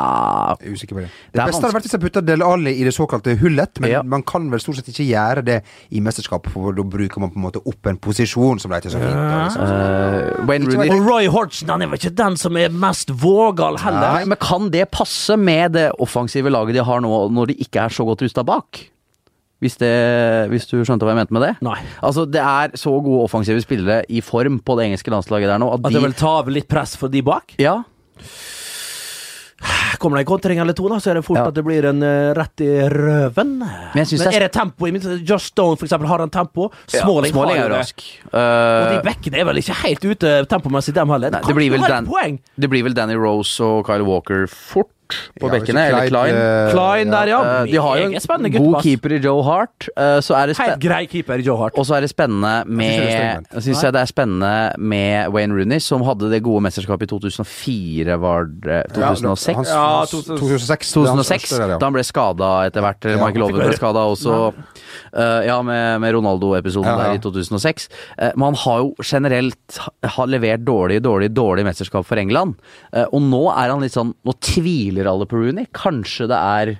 [SPEAKER 2] Jeg er usikker på det. Det,
[SPEAKER 3] er
[SPEAKER 2] beste hadde vært hvis jeg putta Del Alli i det såkalte hullet, men
[SPEAKER 3] Ja.
[SPEAKER 2] man kan vel stort sett ikke gjøre det i mesterskap, for da bruker man på en måte opp en posisjon, som det heter så fint. da, Liksom.
[SPEAKER 3] eh, Wayne
[SPEAKER 2] Ikke
[SPEAKER 3] Rooney
[SPEAKER 1] Og Roy Hodgson han er vel ikke den som er mest vågal heller.
[SPEAKER 3] Nei, Men kan det passe med det offensive laget de har nå, når de ikke er så godt rusta bak? Hvis, det, hvis du skjønte hva jeg mente med det?
[SPEAKER 1] Nei.
[SPEAKER 3] Altså, Det er så gode offensive spillere i form på det engelske landslaget der nå at
[SPEAKER 1] At det
[SPEAKER 3] de
[SPEAKER 1] vil ta av litt press for de bak?
[SPEAKER 3] Ja,
[SPEAKER 1] Kommer det en kontring eller to, da, så er det fort
[SPEAKER 3] Ja.
[SPEAKER 1] at det blir en eh, rett i røven. Men,
[SPEAKER 3] jeg synes det er-
[SPEAKER 1] er det tempo i mitt Josh Stone, for eksempel, har han tempo? Smalling har
[SPEAKER 3] Smalling
[SPEAKER 1] jo
[SPEAKER 3] er
[SPEAKER 1] det.
[SPEAKER 3] rask. Eh,
[SPEAKER 1] Og de bekkene er vel ikke helt ute tempomessig, dem heller.
[SPEAKER 3] Nei,
[SPEAKER 1] Kan
[SPEAKER 3] det, blir
[SPEAKER 1] jo
[SPEAKER 3] vel
[SPEAKER 1] være
[SPEAKER 3] Dan,
[SPEAKER 1] et poeng.
[SPEAKER 3] det blir vel Danny Rose og Kyle Walker fort på
[SPEAKER 2] Ja, hvis
[SPEAKER 3] bekkene, eller
[SPEAKER 2] Clyde,
[SPEAKER 3] Klein.
[SPEAKER 2] eh,
[SPEAKER 1] Klein der, ja.
[SPEAKER 3] Eh, de har jo
[SPEAKER 1] Meget spennende
[SPEAKER 3] en
[SPEAKER 1] gutt,
[SPEAKER 3] god
[SPEAKER 1] ass.
[SPEAKER 3] keeper i Joe Hart, eh, så er det
[SPEAKER 1] Helt
[SPEAKER 3] spen-
[SPEAKER 1] grei keeper i Joe Hart.
[SPEAKER 3] og så er det spennende med
[SPEAKER 2] Nei.
[SPEAKER 3] Syns jeg det er spennende med Wayne Rooney, som hadde det gode mesterskapet i 2004, var det
[SPEAKER 2] Ja,
[SPEAKER 3] 2006?
[SPEAKER 2] hans-
[SPEAKER 1] Ja,
[SPEAKER 2] hans- 2006. det er hans
[SPEAKER 3] 2006,
[SPEAKER 2] første der, ja.
[SPEAKER 3] da han ble skada etter hvert. Eller
[SPEAKER 2] Ja,
[SPEAKER 3] Michael Owen ble skada også. Eh, ja, med, med Ronaldo-episoden
[SPEAKER 2] Ja, ja.
[SPEAKER 3] der i 2006. Eh, men han har jo generelt ha- har levert dårlig, dårlig, dårlig mesterskap for England. Eh, og nå er han litt sånn Nå tviler alle på Rooney. Kanskje det er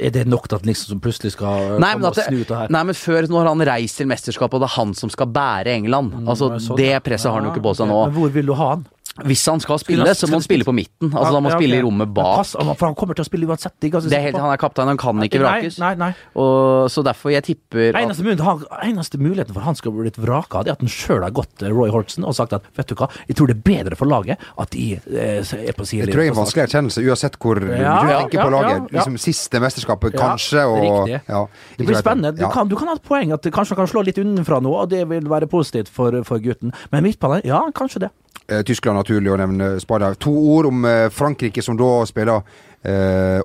[SPEAKER 1] Er det nok til at liksom som plutselig skal
[SPEAKER 3] Nei men,
[SPEAKER 1] komme
[SPEAKER 3] at
[SPEAKER 1] og snu ut
[SPEAKER 3] det,
[SPEAKER 1] av her?
[SPEAKER 3] nei, men før når han reiser til mesterskapet, og det er han som skal bære England Altså,
[SPEAKER 1] Ja, sånn.
[SPEAKER 3] det presset har han jo ikke på seg
[SPEAKER 1] Ja,
[SPEAKER 3] nå.
[SPEAKER 1] Men hvor vil du ha han?
[SPEAKER 3] Hvis han skal spille,
[SPEAKER 1] han-
[SPEAKER 3] så må han spille på midten. Altså, da må han
[SPEAKER 1] Ja, ok.
[SPEAKER 3] spille i rommet
[SPEAKER 1] Men
[SPEAKER 3] bak.
[SPEAKER 1] Pass, altså, for han kommer til å spille uansett. Det er ganske
[SPEAKER 3] Det er
[SPEAKER 1] sikker
[SPEAKER 3] helt,
[SPEAKER 1] på.
[SPEAKER 3] han er kaptein, han kan ikke vrakes.
[SPEAKER 1] Nei, nei, nei.
[SPEAKER 3] Og, så derfor jeg tipper at
[SPEAKER 1] Eneste, muligheten, han- eneste muligheten for han skal bli litt vraka, det er at han sjøl har gått til Roy Hortsen og sagt at vet du hva, jeg tror det er bedre for laget at de eh, er på
[SPEAKER 2] Jeg
[SPEAKER 1] sidelinjen.
[SPEAKER 2] tror det er en vanskelig erkjennelse, uansett hvor
[SPEAKER 1] Ja,
[SPEAKER 2] du
[SPEAKER 1] ja,
[SPEAKER 2] tenker
[SPEAKER 1] ja,
[SPEAKER 2] på laget.
[SPEAKER 1] ja, ja.
[SPEAKER 2] Liksom Siste mesterskapet,
[SPEAKER 1] Ja,
[SPEAKER 2] kanskje. Og,
[SPEAKER 1] riktig.
[SPEAKER 2] ja,
[SPEAKER 1] Det
[SPEAKER 2] ikke
[SPEAKER 1] blir
[SPEAKER 2] vet
[SPEAKER 1] spennende. Du
[SPEAKER 2] Ja.
[SPEAKER 1] kan, du kan ha et poeng at det kanskje han kan slå litt unnafra nå, og det vil være positivt for, for gutten. Men midtbanen, ja, kanskje det.
[SPEAKER 2] Eh, Tyskland naturlig å nevne Spania. To ord om eh, Frankrike, som da spiller eh,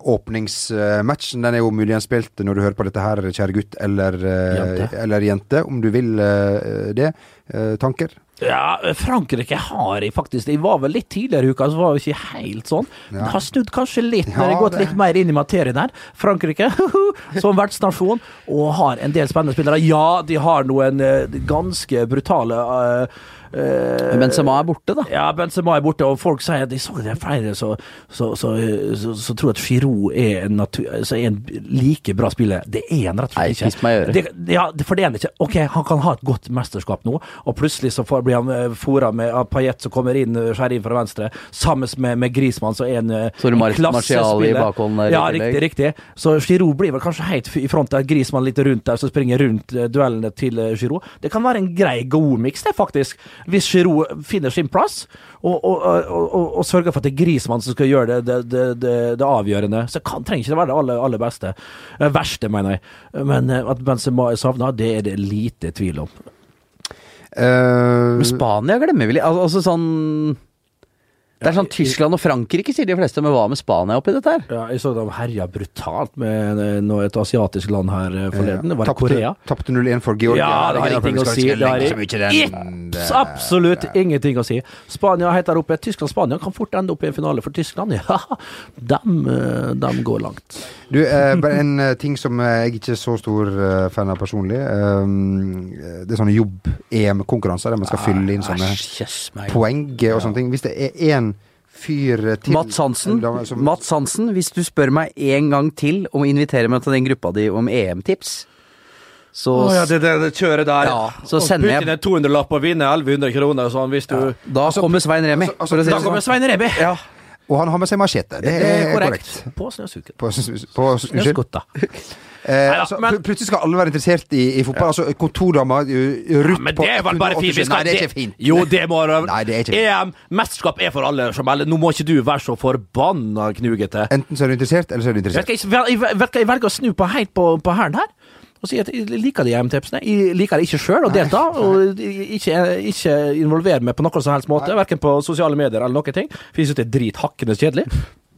[SPEAKER 2] åpningsmatchen. Den er jo muligens spilt når du hører på dette her, kjære gutt eller, eh,
[SPEAKER 1] Jente.
[SPEAKER 2] eller jente, om du vil eh, det. Eh, tanker?
[SPEAKER 1] Ja, Frankrike har jeg faktisk Jeg var vel litt tidligere i uka, så var jeg ikke helt sånn. Men det har snudd kanskje litt, når jeg
[SPEAKER 2] Ja,
[SPEAKER 1] har gått
[SPEAKER 2] det-
[SPEAKER 1] litt mer inn i materien her. Frankrike *laughs* som vertsnasjon, og har en del spennende spillere. Ja, de har noen eh, ganske brutale eh, eh,
[SPEAKER 3] Benzema er borte, da.
[SPEAKER 1] ja, Benzema er borte, og folk sier at de så det er flere som så, så, så, så tror at Giroud er en, natur, så er en like bra spiller. Det er han rett og
[SPEAKER 3] Nei,
[SPEAKER 1] slett ikke.
[SPEAKER 3] piss meg i øret.
[SPEAKER 1] Det, ja, det- for det er han ikke. Ok, han kan ha et godt mesterskap nå, og plutselig så får, blir han eh, fora med av Payet som kommer inn, eh, skjærer inn fra venstre, sammen med, med Griezmann som er en, eh,
[SPEAKER 3] Så har du
[SPEAKER 1] en
[SPEAKER 3] Mar- Martial i bakhånden der i
[SPEAKER 1] Ja,
[SPEAKER 3] tillegg.
[SPEAKER 1] riktig, riktig. Så Giroud blir vel kanskje helt i front der, Griezmann litt rundt der, som springer rundt eh, duellene til eh, Giroud. Det kan være en grei god miks, det, faktisk. Hvis Giroud finner sin plass, og, og, og, og, og sørger for at det er Griezmann som skal gjøre det, det, det, det, det avgjørende, så kan, trenger ikke det være det aller, aller beste. Eh, Verste, mener jeg. Men eh, at Benzema er savna, det er det lite tvil om.
[SPEAKER 2] Eh,
[SPEAKER 3] Men Spania glemmer vi litt. Al altså sånn Det er sånn Tyskland og Frankrike, sier de fleste, men hva med Spania oppi dette her?
[SPEAKER 1] Ja, jeg så de herja brutalt med eh, noe- et asiatisk land her eh, forleden. Var det
[SPEAKER 2] tapte-
[SPEAKER 1] Korea?
[SPEAKER 2] Tapte 0-1 for Georgia.
[SPEAKER 1] Ja, det har
[SPEAKER 2] Herregud,
[SPEAKER 1] ingenting å
[SPEAKER 2] skal
[SPEAKER 1] si.
[SPEAKER 2] ikke
[SPEAKER 1] Det har
[SPEAKER 2] legge så mye til den-
[SPEAKER 1] Ips, absolutt ingenting å si. Spania heter oppe. Tyskland-Spania kan fort ende opp i en finale for Tyskland. *laughs* Ja, dem, eh, dem går langt.
[SPEAKER 2] Du, eh, bare en eh, ting som eh, jeg ikke er så stor eh, fan av personlig. Um, det er sånne jobb-EM-konkurranser der man skal
[SPEAKER 1] Ah,
[SPEAKER 2] fylle inn sånne
[SPEAKER 3] Æsj, jøss meg.
[SPEAKER 2] poeng eh, og sånne ting. Hvis det er én fyr eh, til
[SPEAKER 3] Mats Hansen,
[SPEAKER 2] en dame som-
[SPEAKER 3] Mats Hansen, hvis du spør meg en gang til om å invitere meg til den gruppa di om EM-tips, så
[SPEAKER 1] det, kjøret der.
[SPEAKER 3] Ja, så Og sender Putin jeg- en
[SPEAKER 1] 200-lapp og vinner 1100 kroner og sånn, hvis du
[SPEAKER 3] Da kommer Svein Remi,
[SPEAKER 2] altså,
[SPEAKER 3] for å si
[SPEAKER 2] da
[SPEAKER 3] det sånn.
[SPEAKER 1] Svein Remi!
[SPEAKER 2] Og han har med seg machete. Det er Eh, korrekt.
[SPEAKER 1] På snøsuken.
[SPEAKER 2] På, på, unnskyld. *laughs*
[SPEAKER 1] Skotta.
[SPEAKER 2] Eh,
[SPEAKER 1] Neida,
[SPEAKER 2] altså,
[SPEAKER 1] men-
[SPEAKER 2] pl- plutselig skal alle være interessert i, i fotball. Altså, kontordama
[SPEAKER 1] Ja,
[SPEAKER 2] Ruth
[SPEAKER 1] men
[SPEAKER 2] på
[SPEAKER 1] det er vel bare fint. Vi
[SPEAKER 2] 187.
[SPEAKER 1] skal,
[SPEAKER 2] Nei, det er ikke fint.
[SPEAKER 1] Jo, det må det.
[SPEAKER 2] Nei, det er ikke fint.
[SPEAKER 1] EM, mesterskap er for alle, Jamal. Nå må ikke du være så forbanna knugete.
[SPEAKER 2] Enten så er du interessert, eller så er du interessert.
[SPEAKER 1] Vet du hva, jeg, vet du hva, jeg velger å snu på helt på, på hælen her. Og si at jeg liker de EM-tipsene. Jeg liker det ikke sjøl å delta, og ikke, ikke involvere meg på noen som helst måte. Verken på sosiale medier eller noen ting. For jeg syns det er drithakkende kjedelig.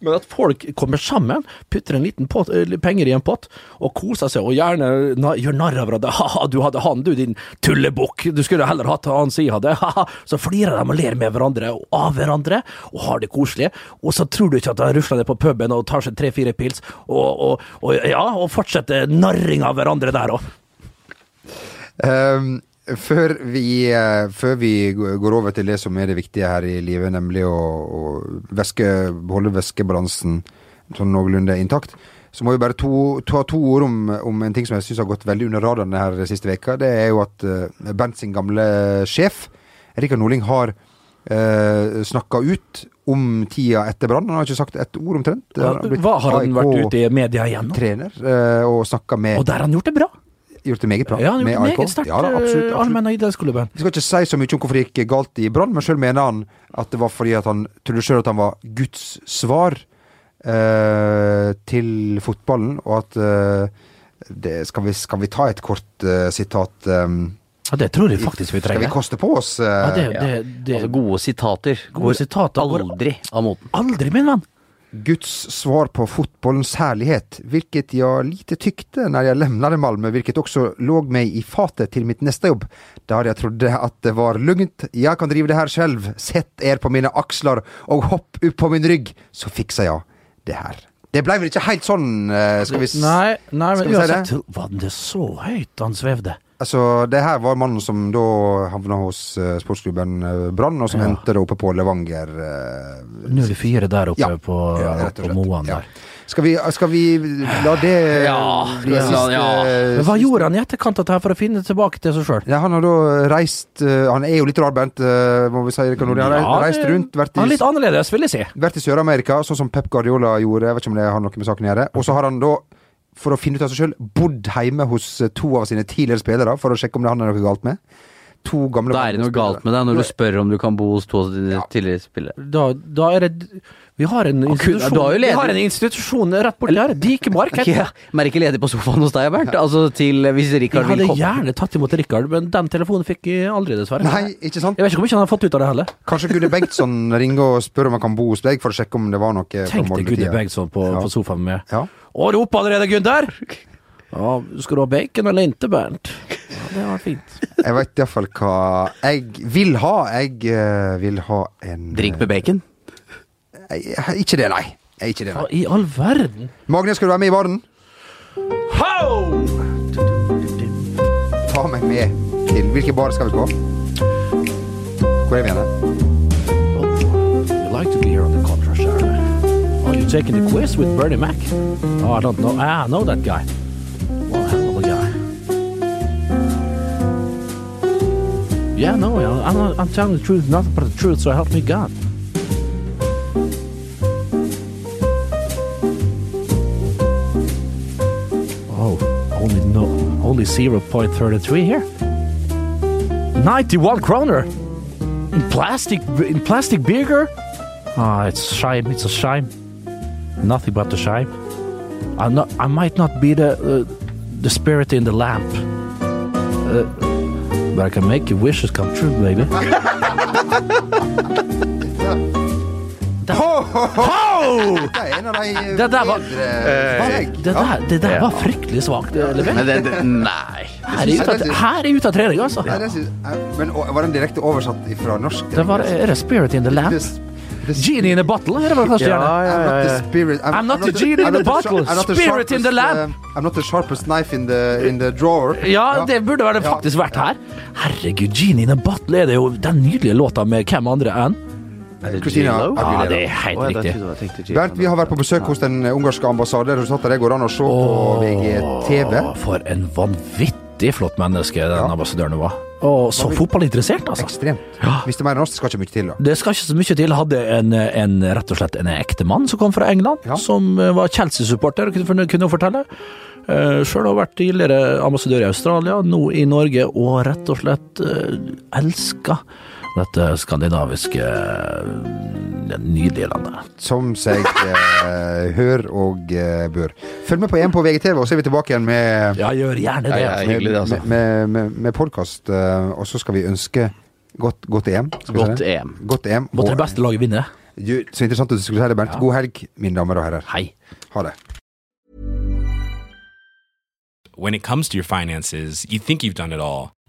[SPEAKER 1] Men at folk kommer sammen, putter en liten pott, eh, penger i en pott, og koser seg, og gjerne na, gjør narr av hverandre. *laughs* Ha-ha, du hadde han, du, din tullebukk. Du skulle heller hatt han si hadde. *laughs* Ha-ha. Så flirer de og ler med hverandre og av hverandre, og har det koselig. Og så tror du ikke at de rusler ned på puben og tar seg tre-fire pils, og, og, og, ja, og fortsetter narring av hverandre der òg.
[SPEAKER 2] Ehm, før, vi, eh, før vi g- går over til det som er det viktige her i livet, nemlig å, å væske, holde væskebalansen sånn noenlunde intakt, så må vi bare to, ta to ord om, om en ting som jeg syns har gått veldig under radaren her siste veka Det er jo at eh, Bernt sin gamle sjef, Rikard Norling, har uh, snakka ut om tida etter brann. Han har ikke sagt et ord omtrent.
[SPEAKER 1] Hva har han vært ute i media igjen nå?
[SPEAKER 2] Trener, eh, og snakka
[SPEAKER 1] Og
[SPEAKER 2] med
[SPEAKER 1] der har han gjort det bra.
[SPEAKER 2] Gjort det meget bra.
[SPEAKER 1] Ja, han har
[SPEAKER 2] med
[SPEAKER 1] gjort det
[SPEAKER 2] AIK.
[SPEAKER 1] meget sterkt.
[SPEAKER 2] Ja, da, absolutt,
[SPEAKER 1] eh,
[SPEAKER 2] absolutt.
[SPEAKER 1] Allmenn og idrettsklubben.
[SPEAKER 2] Vi skal ikke si så mye om hvorfor det gikk galt i Brann, men sjøl mener han at det var fordi at han trodde sjøl at han var Guds svar eh, til fotballen, og at eh, det, skal, vi, skal vi ta et kort eh, sitat eh,
[SPEAKER 1] Ja, det tror jeg faktisk vi
[SPEAKER 2] Skal vi
[SPEAKER 1] trenger.
[SPEAKER 2] koste på oss? eh,
[SPEAKER 1] Ja, det, det, det,
[SPEAKER 3] Altså, gode sitater
[SPEAKER 1] Gode sitater går-
[SPEAKER 3] aldri av moten.
[SPEAKER 1] Aldri, min venn!
[SPEAKER 2] Guds svar på fotbollens härlighet, vilket jag lite tyckte när jag lämnade Malmö, vilket också låg mig i fatet till mitt nästa jobb, där jag trodde att det var lugnt. Jag kan driva det här själv. Sätt er på mina axlar och hopp upp på min rygg, så fixar jag det här. Det blev väl inte helt sån, eh, ska vi... s-
[SPEAKER 1] Nei, nei
[SPEAKER 2] Skal
[SPEAKER 1] men
[SPEAKER 2] vi si
[SPEAKER 1] uansett Var det så høyt han svevde?
[SPEAKER 2] Alltså, Altså, det här var mannen som då hamnade hos eh, sportsklubben eh, Brann och som
[SPEAKER 1] Ja.
[SPEAKER 2] hentade uppe på Levanger. eh,
[SPEAKER 1] 04 der oppe på,
[SPEAKER 2] Ja, rett og
[SPEAKER 1] på
[SPEAKER 2] slett.
[SPEAKER 1] Moan
[SPEAKER 2] Ja.
[SPEAKER 1] der.
[SPEAKER 2] Skal vi, skal vi la det
[SPEAKER 3] Ja,
[SPEAKER 2] bli
[SPEAKER 3] la-
[SPEAKER 2] siste
[SPEAKER 3] ja.
[SPEAKER 1] Men hva gjorde han i etterkant av dette her for å finne tilbake til seg sjøl?
[SPEAKER 2] Ja, han har da reist eh, Han er jo litt rarbent, eh, må vi si. Erik og Nordli. Han har
[SPEAKER 1] Ja,
[SPEAKER 2] reist
[SPEAKER 1] det-
[SPEAKER 2] rundt, vært
[SPEAKER 1] Han er
[SPEAKER 2] i,
[SPEAKER 1] litt annerledes, vil jeg si.
[SPEAKER 2] vært i Sør-Amerika, sånn som Pep Guardiola gjorde. Jeg vet ikke om det har noe med saken å gjøre. Og så har han da, for å finne ut av seg sjøl, bodd hjemme hos eh, to av sine tidligere spillere for å sjekke om det han er noe galt med. To gamle
[SPEAKER 3] Da er det noe galt med deg når du spør om du kan bo hos to av dine tidligere spillere. *laughs*
[SPEAKER 1] Da, da er det Vi har en
[SPEAKER 3] kun-
[SPEAKER 1] institusjon,
[SPEAKER 3] du har jo
[SPEAKER 1] vi
[SPEAKER 3] leder-
[SPEAKER 1] har en institusjon rett borti her. *laughs* Dikemark. heter
[SPEAKER 3] Ja,
[SPEAKER 1] det.
[SPEAKER 3] men er ikke ledig på sofaen hos deg, Bernt? Altså til hvis
[SPEAKER 1] Jeg
[SPEAKER 3] Rikard vil
[SPEAKER 1] hadde
[SPEAKER 3] komme.
[SPEAKER 1] gjerne tatt imot Rikard, men den telefonen fikk jeg aldri, dessverre.
[SPEAKER 2] Nei, ikke sant?
[SPEAKER 1] Jeg vet ikke hvor mye han har fått ut av det heller.
[SPEAKER 2] Kanskje Gudde Bengtsson ringer og spør om han kan bo hos deg, for å sjekke om det var noe fra
[SPEAKER 1] Tenk deg Gudde
[SPEAKER 2] Molde-tida.
[SPEAKER 1] Bengtsson på,
[SPEAKER 2] Ja.
[SPEAKER 1] på sofaen med
[SPEAKER 2] Ja.
[SPEAKER 1] Å, rop allerede, Gunder! Ja, skal du ha bacon eller ikke, Bernt? Ja, det var fint.
[SPEAKER 2] Jeg veit iallfall hva jeg vil ha. Jeg eh, vil ha en
[SPEAKER 3] Drink med bacon.
[SPEAKER 2] Nei, Ikke det, nei. Ikke det,
[SPEAKER 1] Hva
[SPEAKER 2] nei.
[SPEAKER 1] i all verden?
[SPEAKER 2] Magne, skal du være med i baren?
[SPEAKER 1] Ho!
[SPEAKER 2] Ta meg med til Hvilken bar skal vi på? Hvor er vi igjen?
[SPEAKER 1] You like to be here on the contra share. Are you taking the quiz with Bernie Mac? Oh, I don't know. Ah, I know that guy. Well, hell of a guy. Yeah, no, I- I'm, not, I'm telling the truth, nothing but the truth, so help me God. Oh, only no, only 0.33 here. 91 kroner. In plastic, in plastic beaker? Ah, it's a shame. It's a shame. Nothing but a shame. I'm not. I might not be the uh, the spirit in the lamp, uh, but I can make your wishes come true, baby. Ho!
[SPEAKER 2] Det er en av de eh,
[SPEAKER 1] Det der var-
[SPEAKER 2] bedre
[SPEAKER 1] Eh,
[SPEAKER 2] valg.
[SPEAKER 1] Det der, det der var fryktelig svakt eh, levert.
[SPEAKER 3] Men det, det, nei.
[SPEAKER 1] Her er ute av, her er ute av trening, altså.
[SPEAKER 2] Nei, det synes, eh, men å, var den direkte oversatt fra norsk?
[SPEAKER 1] Det var, er det spirit in the
[SPEAKER 2] The
[SPEAKER 1] lamp?
[SPEAKER 2] s- the s-
[SPEAKER 1] Genie in a bottle, er det hva det første gjerne?
[SPEAKER 2] I'm not the spirit I'm,
[SPEAKER 1] I'm not the genie in
[SPEAKER 2] I'm
[SPEAKER 1] the
[SPEAKER 2] not
[SPEAKER 1] bottle,
[SPEAKER 2] sharp- I'm not the
[SPEAKER 1] spirit in the
[SPEAKER 2] sharpest,
[SPEAKER 1] lamp.
[SPEAKER 2] eh, I'm not the sharpest knife in the, in the drawer.
[SPEAKER 1] Ja, det burde være det
[SPEAKER 2] Ja.
[SPEAKER 1] faktisk vært her. Herregud, Genie in a Bottle er det jo den nydelige låta med hvem andre enn
[SPEAKER 2] Christina
[SPEAKER 3] J-Lo?
[SPEAKER 1] Ja,
[SPEAKER 2] Aguilera.
[SPEAKER 1] det er helt riktig.
[SPEAKER 2] Bernt, vi har vært på besøk hos den eh, ungarske ambassaden. Resultatet det går an å se på VGTV.
[SPEAKER 1] Å, for en vanvittig flott menneske den ambassadøren var. Og så fotballinteressert, altså.
[SPEAKER 2] Ekstremt. Hvis det er mer enn oss, det skal ikke mye til, da.
[SPEAKER 1] Det skal ikke så mye til. Hadde en, en rett og slett en ekte mann som kom fra England,
[SPEAKER 2] Ja.
[SPEAKER 1] som eh, var Chelsea-supporter, kunne hun- kunne hun fortelle. Uh, Sjøl har hun vært tidligere ambassadør i Australia, nå i Norge, og rett og slett uh, elska dette skandinaviske eh, det nydelige landet.
[SPEAKER 2] Som seg eh, hør og eh, bør. Følg med på EM på VGTV, og så er vi tilbake igjen med,
[SPEAKER 1] Ja, gjør gjerne det.
[SPEAKER 4] Ja, ja, hyggelig det, altså.
[SPEAKER 2] med, med, med, med podkast. Eh, og så skal vi ønske godt, godt EM. Skal vi si
[SPEAKER 3] Godt
[SPEAKER 2] det?
[SPEAKER 3] EM.
[SPEAKER 2] Godt EM.
[SPEAKER 1] Måtte det
[SPEAKER 2] Og,
[SPEAKER 1] beste laget vinne.
[SPEAKER 2] du, så interessant at du skulle si det, Bernt. God helg, mine damer og herrer.
[SPEAKER 1] Hei.
[SPEAKER 2] Ha det.
[SPEAKER 7] when it comes to your finances, you think you've done it all.